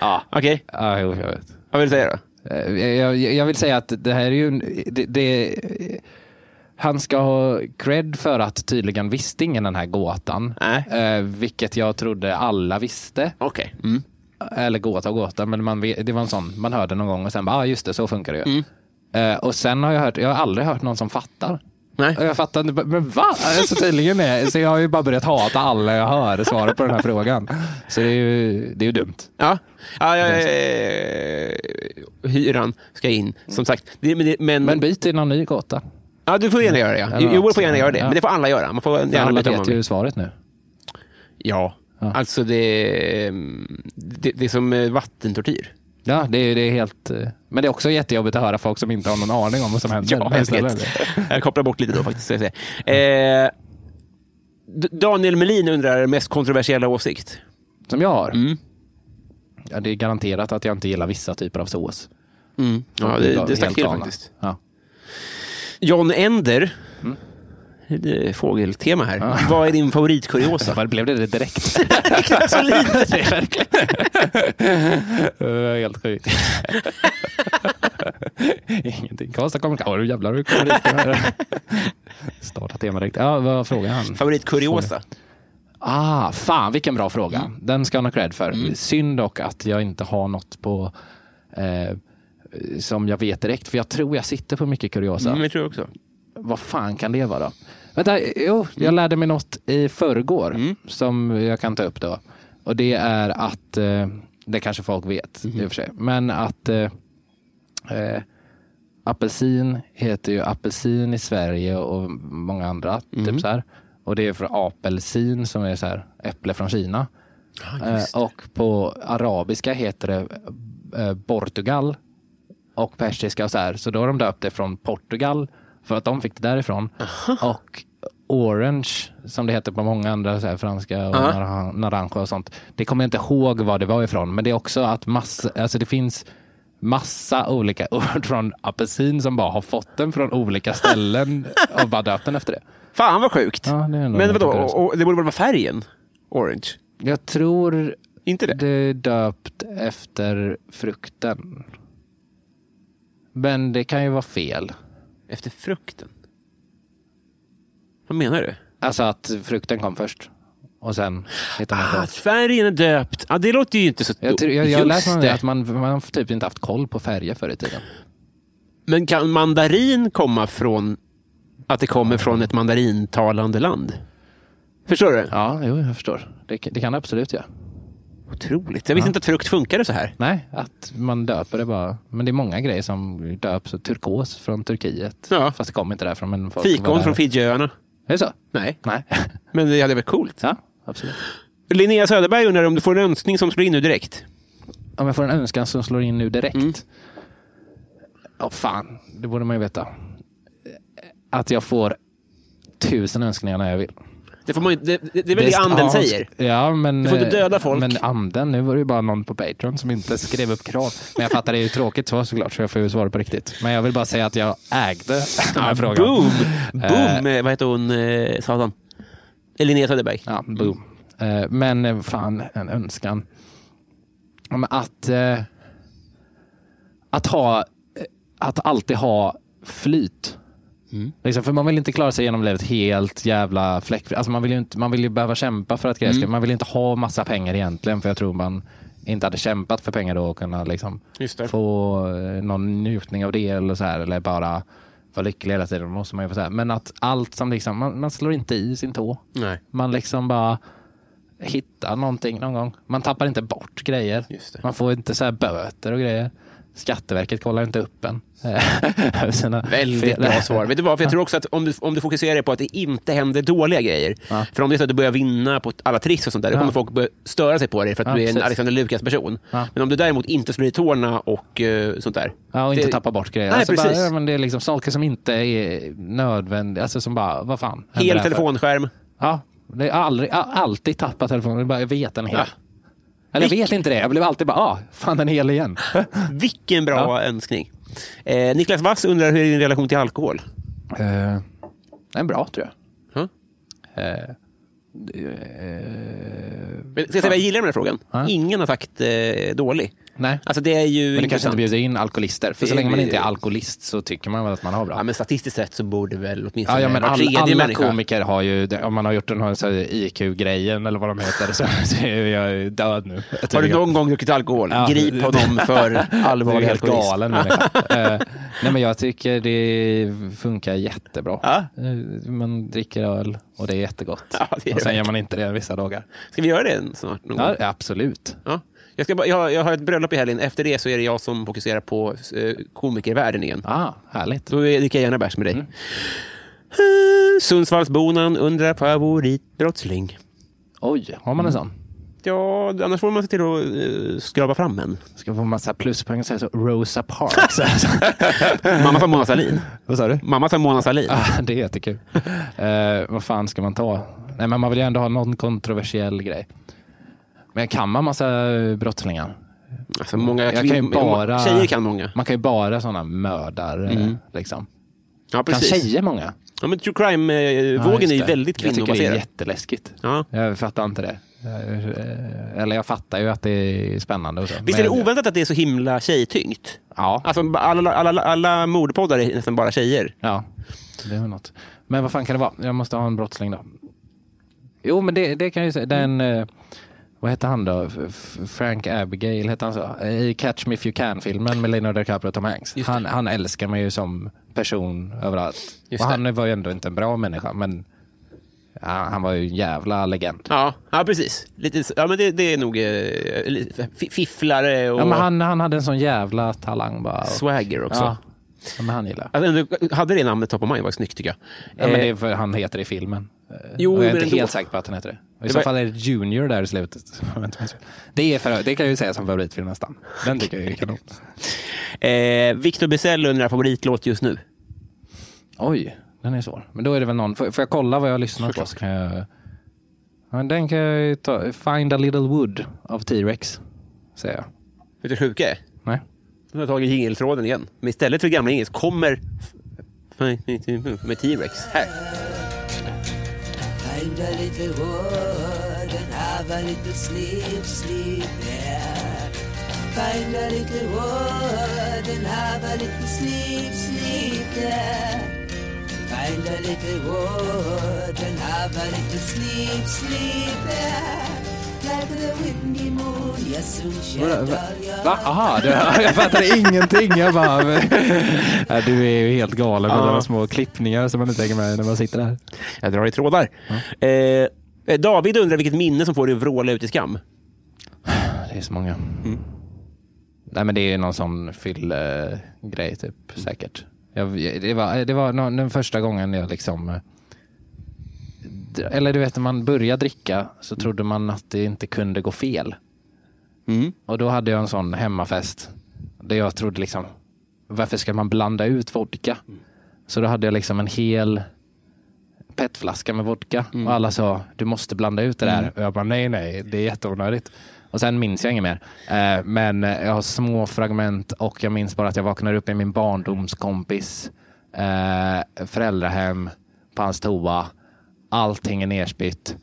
Ja. Okej,
Ah, jo, jag vet.
vad vill du säga då?
Eh, Jag, jag jag vill säga att det här är ju... en- Det, det, han ska ha cred för att tydligen visste ingen den här gåtan.
Nej.
Eh, vilket jag trodde alla visste.
Okej.
Eller gåta och gåta, men man, vet- det var en sån, man hörde någon gång och sen bara, ah, just det, så funkar det ju.
Mm.
Eh, och sen har jag hört, jag har aldrig hört någon som fattar.
Nej.
Och jag fattar inte, bara, men va? Eh, Så tydligen är, så jag har ju bara börjat hata alla jag hör svara på den här frågan. Så det är ju, det är ju dumt.
Ja. ja, ja, ja, ja, ja. hyran ska in, som sagt. Det, men, det, men,
Mm. Men byt till någon ny gåta.
ja, du får gärna göra det. Ja.
Ja,
Joel får
absolut.
gärna göra det,
Ja.
men det får alla göra. Man får
För
gärna
alla
byta om man
vet
vill.
ju svaret nu.
Ja, alltså det, mm, det, det är som eh, vattentortyr.
Ja, det är, det är helt... eh, Men det är också jättejobbigt att höra folk som inte har någon aning om vad som händer.
Ja, jag
Snälla.
vet. Jag kopplar bort lite då faktiskt. Ska jag säga. Eh, D- Daniel Melin undrar mest kontroversiella åsikt.
Som jag har.
Mm.
Ja, det är garanterat att jag inte gillar vissa typer av sås.
Ja,
är
det,
bara
det stack
Mm. helt
till
galna.
faktiskt.
Ja.
John Ender.
Mm.
Det är fågeltema här. Vad är din favoritkuriosa?
Varför blev det det direkt?
Så lite.
Det var helt sjukt. Ingenting. Karlstad kommer... Åh, du jävlar hur kommer dit? Starta tema direkt. Ja, vad frågar han?
Favoritkuriosa?
Ah, fan vilken bra fråga. Den ska han ha cred för. Synd dock att jag inte har något på eh, som jag vet direkt. För jag tror jag sitter på mycket kuriosa.
Mm, jag tror jag också.
Vad fan kan det vara då? Vänta, jo, jag lärde mig något i förrgår som jag kan ta upp då. Och det är att, eh, det kanske folk vet i och för sig, men att eh, eh, apelsin heter ju apelsin i Sverige och många andra. Typ så här. Och det är från apelsin som är så här, äpple från Kina. eh, och på arabiska heter det eh, Portugal och persiska och så här. Så då har de döpt det från Portugal för att de fick det därifrån. Och orange, som det heter på många andra så här, franska och naran- naranja och sånt. Det kommer jag inte ihåg vad det var ifrån. Men det är också att massa, alltså det finns massa olika ord från apelsin som bara har fått den från olika ställen och bara döpt den efter det.
Fan vad sjukt.
Ja, det är ändå
Men
en
vadå,
kuriosa.
och, och, det borde väl vara färgen? Orange?
Jag tror
Inte det?
det är döpt efter frukten. Men det kan ju vara fel.
Efter frukten? Vad menar du?
Alltså att frukten kom först. Och sen hittade man på.
Att färgen är döpt. Ja, det låter ju inte så
Jag, tror- jag, jag
Just
läste någon-
det.
att man, man har typ inte haft koll på färger förr i tiden.
Men kan mandarin komma från att det kommer från ett mandarintalande land? Förstår du?
Ja, jo, jag förstår. Det, det kan det absolut göra.
Otroligt. Jag visste inte att frukt funkade så här.
Nej, att man döper det bara. Men det är många grejer som döps. Turkos från Turkiet.
Ja.
Fast det kom inte därifrån. Men folk var
Fikon
där.
från Fidjöarna?
Är det så?
Nej,
Nej.
men det hade varit coolt.
Ja, absolut.
Linnea Söderberg undrar om du får en önskning som slår in nu direkt.
Om jag får en önskan som slår in nu direkt. Ja, fan. Det borde man ju veta. Att jag får tusen önskningar när jag vill.
Det, får man, ju- det, det, det är väl det
är-
anden
ja,
säger?
Ja, men, eh,
Du får inte döda folk.
Men anden, nu var det ju bara någon på Patreon som inte skrev upp krav. Men jag fattar, det är ju tråkigt svar såklart, så jag får ju svara på riktigt. Men jag vill bara säga att jag ägde den här frågan.
Ah, Boom! Boom! eh, Vad heter hon, eh, satan? Eh, Linnea Söderberg.
Ja, boom. Eh, Men eh, fan, en önskan. Om Att, eh, att, ha, eh, att alltid ha flyt.
Mm.
Liksom, för man vill inte klara sig genom livet helt jävla fläckfritt. Alltså man, vill ju inte- man vill ju behöva kämpa för att grejer
Mm.
ska... Man vill inte ha massa pengar egentligen för jag tror man inte hade kämpat för pengar då och kunna liksom
Just det.
få eh, någon njutning av det eller så här eller bara vara lycklig hela tiden. Då måste man ju få så här. Men att allt som liksom, man, man slår inte i sin tå.
Nej,
Man liksom bara hittar någonting någon gång. Man tappar inte bort grejer.
Just det.
Man får inte så här böter och grejer. Skatteverket kollar inte upp en. Eh, sina
Väldigt
fel.
bra svar. Vet du vad? För jag tror också att om du, om du fokuserar på att det inte händer dåliga grejer. För om det är så att du börjar vinna på alla tricks och sånt där, då kommer folk börja störa sig på dig för att
Ja,
du är en
precis.
Alexander Lukas-person.
Ja.
Men om du däremot inte slår i tårna och eh, sånt där.
Ja, och inte
det-
tappa bort grejer.
Nej,
alltså
precis.
Bara, ja, men det är liksom saker som inte är nödvändiga. Alltså som bara, vad fan. händer
Hel
här för?
telefonskärm.
Ja, det är aldrig, a- alltid tappa telefonen. Det är bara, jag vet den är hel.
Ja.
Eller jag vet inte det. Jag blev alltid bara, ah, fan den är hel igen.
Eh. Vilken bra önskning. Eh, Niklas Wass undrar hur är din relation till alkohol?
Eh, den är bra tror jag.
Men, ska jag säga vad jag gillar med den här frågan? Ingen har sagt eh, dålig.
Nej.
Alltså det är ju
Men det kanske
intressant.
inte bjuder in alkoholister. För så
Det
länge man
blir-
inte är alkoholist så tycker man väl att man har bra.
Ja, men statistiskt sett så borde väl åtminstone
Ja, ja, men
var
all,
tredje
alla
människa...
komiker har ju, det- om man har gjort den här så här IQ-grejen eller vad de heter, så, så är jag ju död nu.
Har du någon gång druckit alkohol?
Ja.
Grip honom för allvarlig
är helt
alkoholism.
galen människa. Eh, Nej men jag tycker det funkar jättebra.
Ja.
Eh, Man dricker öl och det är jättegott.
Ja, det är
och sen
det.
gör man inte det Mm. vissa dagar.
Ska vi göra det snart? Någon
Ja,
gång?
absolut.
Ja. Jag, ska bara, jag, har- jag har ett bröllop i helgen. Efter det så är det jag som fokuserar på eh, komikervärlden igen.
Ah, härligt.
Då är- dricker jag gärna bärs med dig. Mm. Sundsvallsbonan undrar favoritbrottsling.
Oj, Mm. har man en sån?
Ja, annars får man se till att eh, skrapa fram en.
Ska få massa pluspoäng och säga så. Rosa Parks. alltså.
Mamma sa Mona Sahlin.
Vad sa du?
Mamma sa Mona Sahlin.
Ah, det är jättekul. Eh, vad fan ska man ta? Nej, men man vill ju ändå ha någon kontroversiell grej. Men kan man massa brottslingar?
Alltså, många
Jag kan ju
kvin-
bara...
Tjejer kan många.
Man kan ju bara sådana mördare. Liksom.
Ja,
Kan
precis.
tjejer många?
Ja, men true crime-vågen är ju väldigt
Jag tycker det är
kvinnobaserad.
jätteläskigt.
Ja.
Jag fattar inte det. Eh, Eller jag fattar ju att det är spännande. Och så.
Visst är det
Men-
oväntat att det är så himla tjejtyngt?
Ja.
Alltså, alla, alla, alla mordpoddar är nästan bara tjejer.
Ja, det är väl något. Men vad fan kan det vara? Jag måste ha en brottsling då. Jo, men det, det kan jag ju säga. Den, eh, vad hette han då? F- F- Frank Abigail, hette han så? Eh, I Catch Me If You Can-filmen med Leonardo DiCaprio och Tom Hanks. Han, han älskar mig ju som person överallt.
Just
och
det.
han var ju ändå inte en bra människa, men ja, han var ju en jävla legend.
Ja, ja precis. Lite, ja, men det, det är nog eh, lite fi- fifflare och
Ja, men han, han hade en sån jävla talang bara. Och,
swagger också.
ja. ja, men han gillar jag.
Alltså, ändå, hade det namnet top of mind var snyggt tycker jag.
Ja, men
Eh,
det är för han heter det i filmen. Eh,
Jo,
och jag är
men
inte
ändå.
helt säker på att han heter det. Och I
Det
så
var-
fall är det Junior där i slutet. det, är för, det kan jag ju säga som favoritfilm nästan. Den tycker jag är kanon.
eh, Victor Bizell undrar favoritlåt just nu.
Oj, den är svår. Men då är det väl någon. Får, får jag kolla vad jag lyssnar på? Så kan jag, ja, men den kan jag ju ta. Find a little wood av T-Rex. Säger jag.
Vet du hur sjuka är?
Nej.
De har tagit jingeltråden igen. Men istället för gamla jingels kommer med T-Rex. Här.
Find a little wood and have a little sleep, sleep there. Find a little wood and have a little sleep, sleep there. Find a little wood and have a little sleep, sleep there. Like the windy moon, you soon shall dull your
Va? Aha, du, jag fattade ingenting. Jag bara, ja, du är ju helt galen med alla små klippningar som man inte hänger med när man sitter här.
Jag drar i trådar. Eh, David undrar vilket minne som får dig att vråla ut i skam.
Det är så många. Nej men det är någon sån fyllegrej typ säkert. Jag, det var, det var någon, den första gången jag liksom eh, d- eller du vet när man började dricka så trodde man att det inte kunde gå fel. Och då hade jag en sån hemmafest där jag trodde liksom varför ska man blanda ut vodka? Så då hade jag liksom en hel petflaska med vodka och alla sa du måste blanda ut det där. Och jag bara nej, nej, det är jätteonödigt. Och sen minns jag inget mer. Eh, Men eh, jag har små fragment och jag minns bara att jag vaknar upp i min barndomskompis eh, föräldrahem på hans toa. Allting är nerspytt.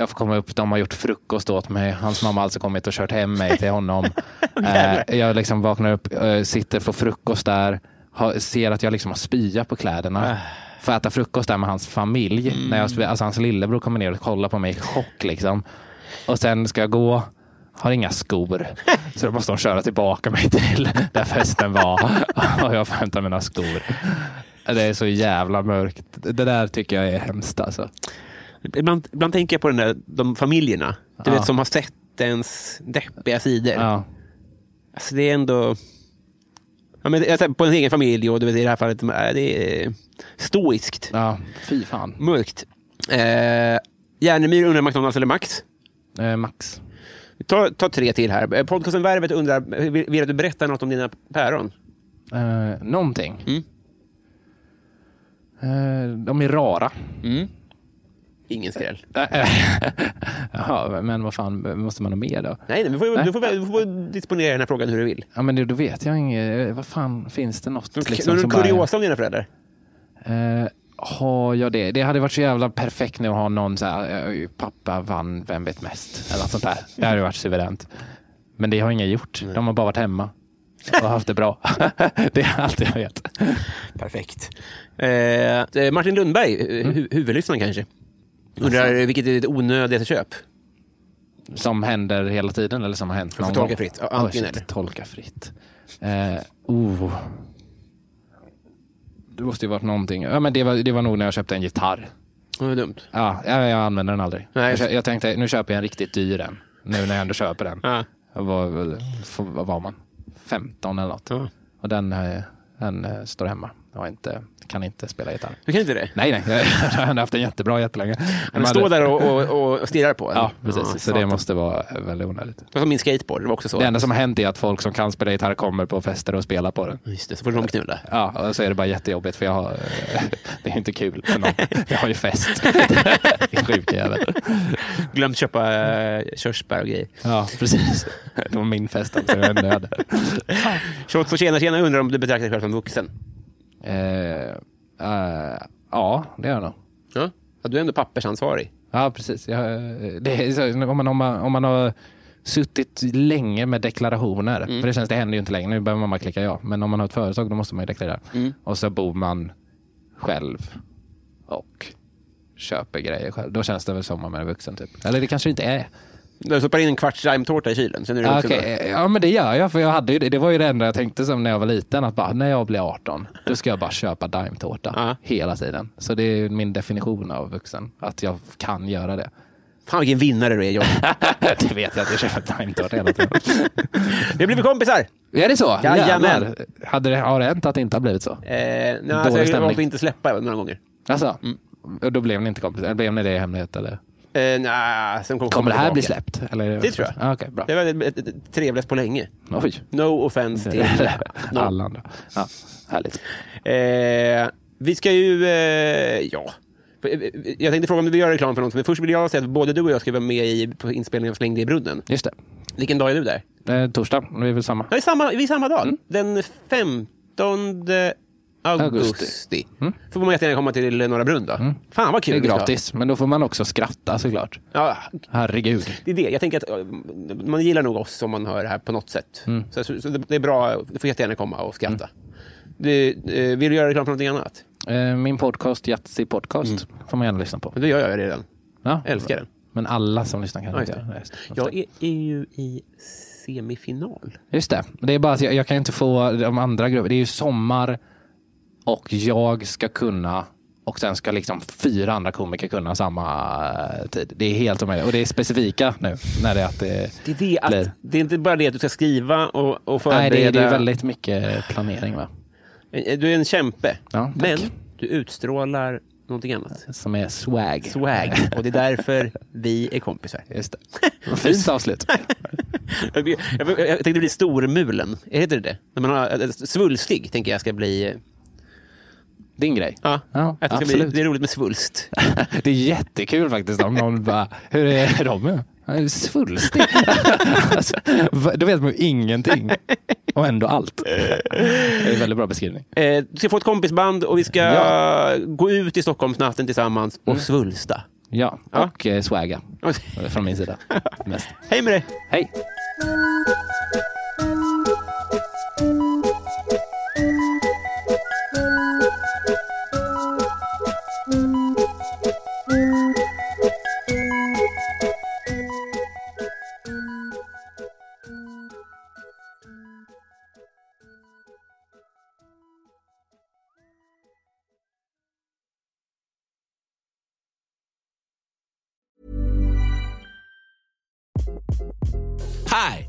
Jag får komma upp, de har gjort frukost åt mig. Hans mamma har alltså kommit och kört hem mig till honom. Eh, jag liksom vaknar upp, eh, sitter, får frukost där. Har, ser att jag liksom har spya på kläderna. Får äta frukost där med hans familj. När jag, sp- alltså hans lillebror kommer ner och kollar på mig i chock. Liksom. Och sen ska jag gå. Har inga skor. Så då måste de köra tillbaka mig till där festen var. Och jag får hämta mina skor. Det är så jävla mörkt. Det där tycker jag är hemskt alltså.
Ibland, ibland tänker jag på den där, de familjerna du
Ja.
vet, som har sett ens deppiga sidor.
Ja.
Alltså, det är ändå... Ja, men jag tänker på en egen familj och du vet, i det här fallet, eh, det är stoiskt.
Ja, fy fan.
Mörkt. Eh, Järnemyr undrar McDonalds eller Max?
Eh, Max.
Ta, ta tre till här. Eh, Podcasten Värvet undrar, eh, vill, vill att du berättar något om dina päron?
Eh, någonting.
Mm.
Eh, de är rara.
Ingen skräll.
Jaha, men vad fan måste man ha med då?
Nej, nej, du, får,
Nej.
Du, får, väl- du får disponera den här frågan hur du vill.
Ja, men då- då vet jag inget. Eh, Vad fan, finns det något?
Liksom, Någon
som bara-
kuriosa om dina föräldrar?
Eh, har jag det? Det hade varit så jävla perfekt nu att ha någon så här, eh, pappa vann Vem vet mest? Eller något sånt där. Det hade varit suveränt. Men det har ingen gjort. De har bara varit hemma och haft det bra. det är allt jag vet.
Perfekt. Eh, eh, Martin Lundberg, eh,
Mm.
hu- huvudlyssnaren kanske, undrar vilket är ditt onödigaste köp?
Som händer hela tiden eller som har hänt
får
någon
tolka
gång.
fritt. Ja, antingen
Oj, shit,
eller.
Tolka fritt. Eh, oh. Det måste ju varit någonting. Ja, men det, var, det var nog när jag köpte en gitarr.
Det var dumt.
Ja, jag, jag använder den aldrig.
Nej,
jag,
just-
kö- jag tänkte, nu köper jag en riktigt dyr en. Nu när jag ändå köper den.
Ja.
Jag var väl, f- vad var man? 15 eller något.
Ja.
Och den, eh, den eh, står hemma. Jag har inte, kan inte spela gitarr.
Du kan inte det?
Nej, nej. Jag har haft den jättebra jättelänge.
Han står där och, och, och stirrar på en.
Ja, precis. så det
satan.
måste vara eh, väldigt onödigt.
Det var som min skateboard, det var också så.
Det enda som har hänt är att folk som kan spela gitarr kommer på fester och spelar på den.
Just det, så får de knulla.
Ja, och så är det bara jättejobbigt för jag har, eh, det är inte kul för någon. Jag har ju fest. Din sjuka jävel.
Glömt köpa eh, körsbär och grejer.
Ja, precis. Det var min fest också. Jag är nöd.
Shots och tjena tjena undrar om du betraktar dig själv som vuxen?
Eh, eh, ja, det gör jag nog.
Ja. ja du är ändå pappersansvarig.
Ja, precis. Jag, eh, det är, så- om, man, om, man, om man har suttit länge med deklarationer, för det känns det händer ju inte längre, nu behöver man bara klicka ja. Men om man har ett företag då måste man ju deklarera. Och så bor man själv och köper grejer själv. Då känns det väl som om man är vuxen typ. Eller det kanske inte är.
Du stoppar in en kvarts limetårta i kylen, sen är du
Ja,
vuxen.
okej. Ja, men det gör jag. För jag hade ju det. det var ju det enda jag tänkte som när jag var liten. Att bara, när jag blir 18, då ska jag bara köpa Daimtårta
Ja.
hela tiden. Så det är min definition av vuxen. Att jag kan göra det.
Fan vilken vinnare du är, John.
det vet jag att jag köper Daimtårta hela tiden.
Vi har blivit kompisar!
är det så?
Jajamän.
Jävlar. Hade det, har det hänt att det inte har blivit så?
Eh, nej, alltså, jag har
stämning.
valt att inte släppa några gånger.
Alltså,
Mm.
och då blev ni inte kompisar? Eller Blev ni det i hemlighet? Eller?
Eh, nej, sen kom
Kommer det här bli
tillbaka.
släppt? Eller?
Det tror jag.
Ah, Okej, bra.
Det var ett, ett, ett trevligast på länge.
Oj.
No offense till någon.
Alla andra. Ja, härligt.
Eh, vi ska ju... Eh, ja. Jag tänkte fråga om du vill göra reklam för något. Men först vill jag säga att både du och jag ska vara med i, på inspelningen av Släng dig i brunnen.
Just
Vilken dag är du där?
det. Eh, torsdag, det är väl samma.
Ja, det är samma, vi är samma dag.
Mm.
Den 15 augusti. Får man jättegärna komma till Norra Brunn då. Fan vad kul.
Mm.
vi
Det är
ska ha.
gratis, men då får man också skratta såklart.
Ja,
Herregud.
det är det. Jag tänker att eh, man gillar nog oss om man hör det här på något sätt.
Mm.
Så, så, så det det är bra. Du får jättegärna komma och skratta. Du, eh, vill du göra reklam för någonting annat?
Eh, Min podcast, Jatsi Podcast, får man gärna lyssna på.
Men det gör Mm. jag ju redan.
Ja.
Älskar den.
Men alla som lyssnar
Ja,
kan
just
inte
det.
göra det. Just det.
Jag är, är ju i semifinal.
Just det. Det är bara att jag, jag kan inte få de andra grupperna. Det är ju sommar och jag ska kunna och sen ska liksom fyra andra komiker kunna samma eh, tid. Det är helt omöjligt. Och det är specifika nu. När det är att det,
Det är, det, att,
blir.
det är inte bara det att du ska skriva och, och förbereda. Eh,
Nej, det är, det är väldigt mycket planering va?
Du är en kämpe.
Ja, tack.
men du utstrålar någonting annat.
Som är swag.
Swag. Och det är därför vi är kompisar.
Just det. Fint avslut.
Jag, jag, jag tänkte bli stormulen. Heter det det? När man har, eh, svulstig tänker jag ska bli. eh,
Din grej.
Ja,
Ja,
att det, ska bli
absolut.
det är roligt med svulst.
Det är jättekul faktiskt om någon bara, hur är de? Han är svulstig. alltså, va- då vet man ju ingenting. Och ändå allt. Det är en väldigt bra beskrivning.
Eh, du ska få ett kompisband och vi ska gå ut i Stockholmsnatten tillsammans
Mm.
och svulsta.
Ja,
Ja.
och eh, swaga. Från min sida. Mest.
Hej med dig!
Hej!
Hi,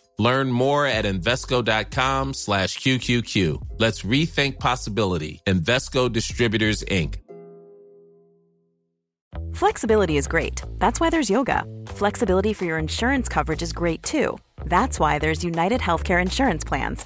Learn more at Invesco.com slash QQQ. Let's rethink possibility. Invesco Distributors, Inc.
Flexibility is great. That's why there's yoga. Flexibility for your insurance coverage is great too. That's why there's United Healthcare Insurance Plans.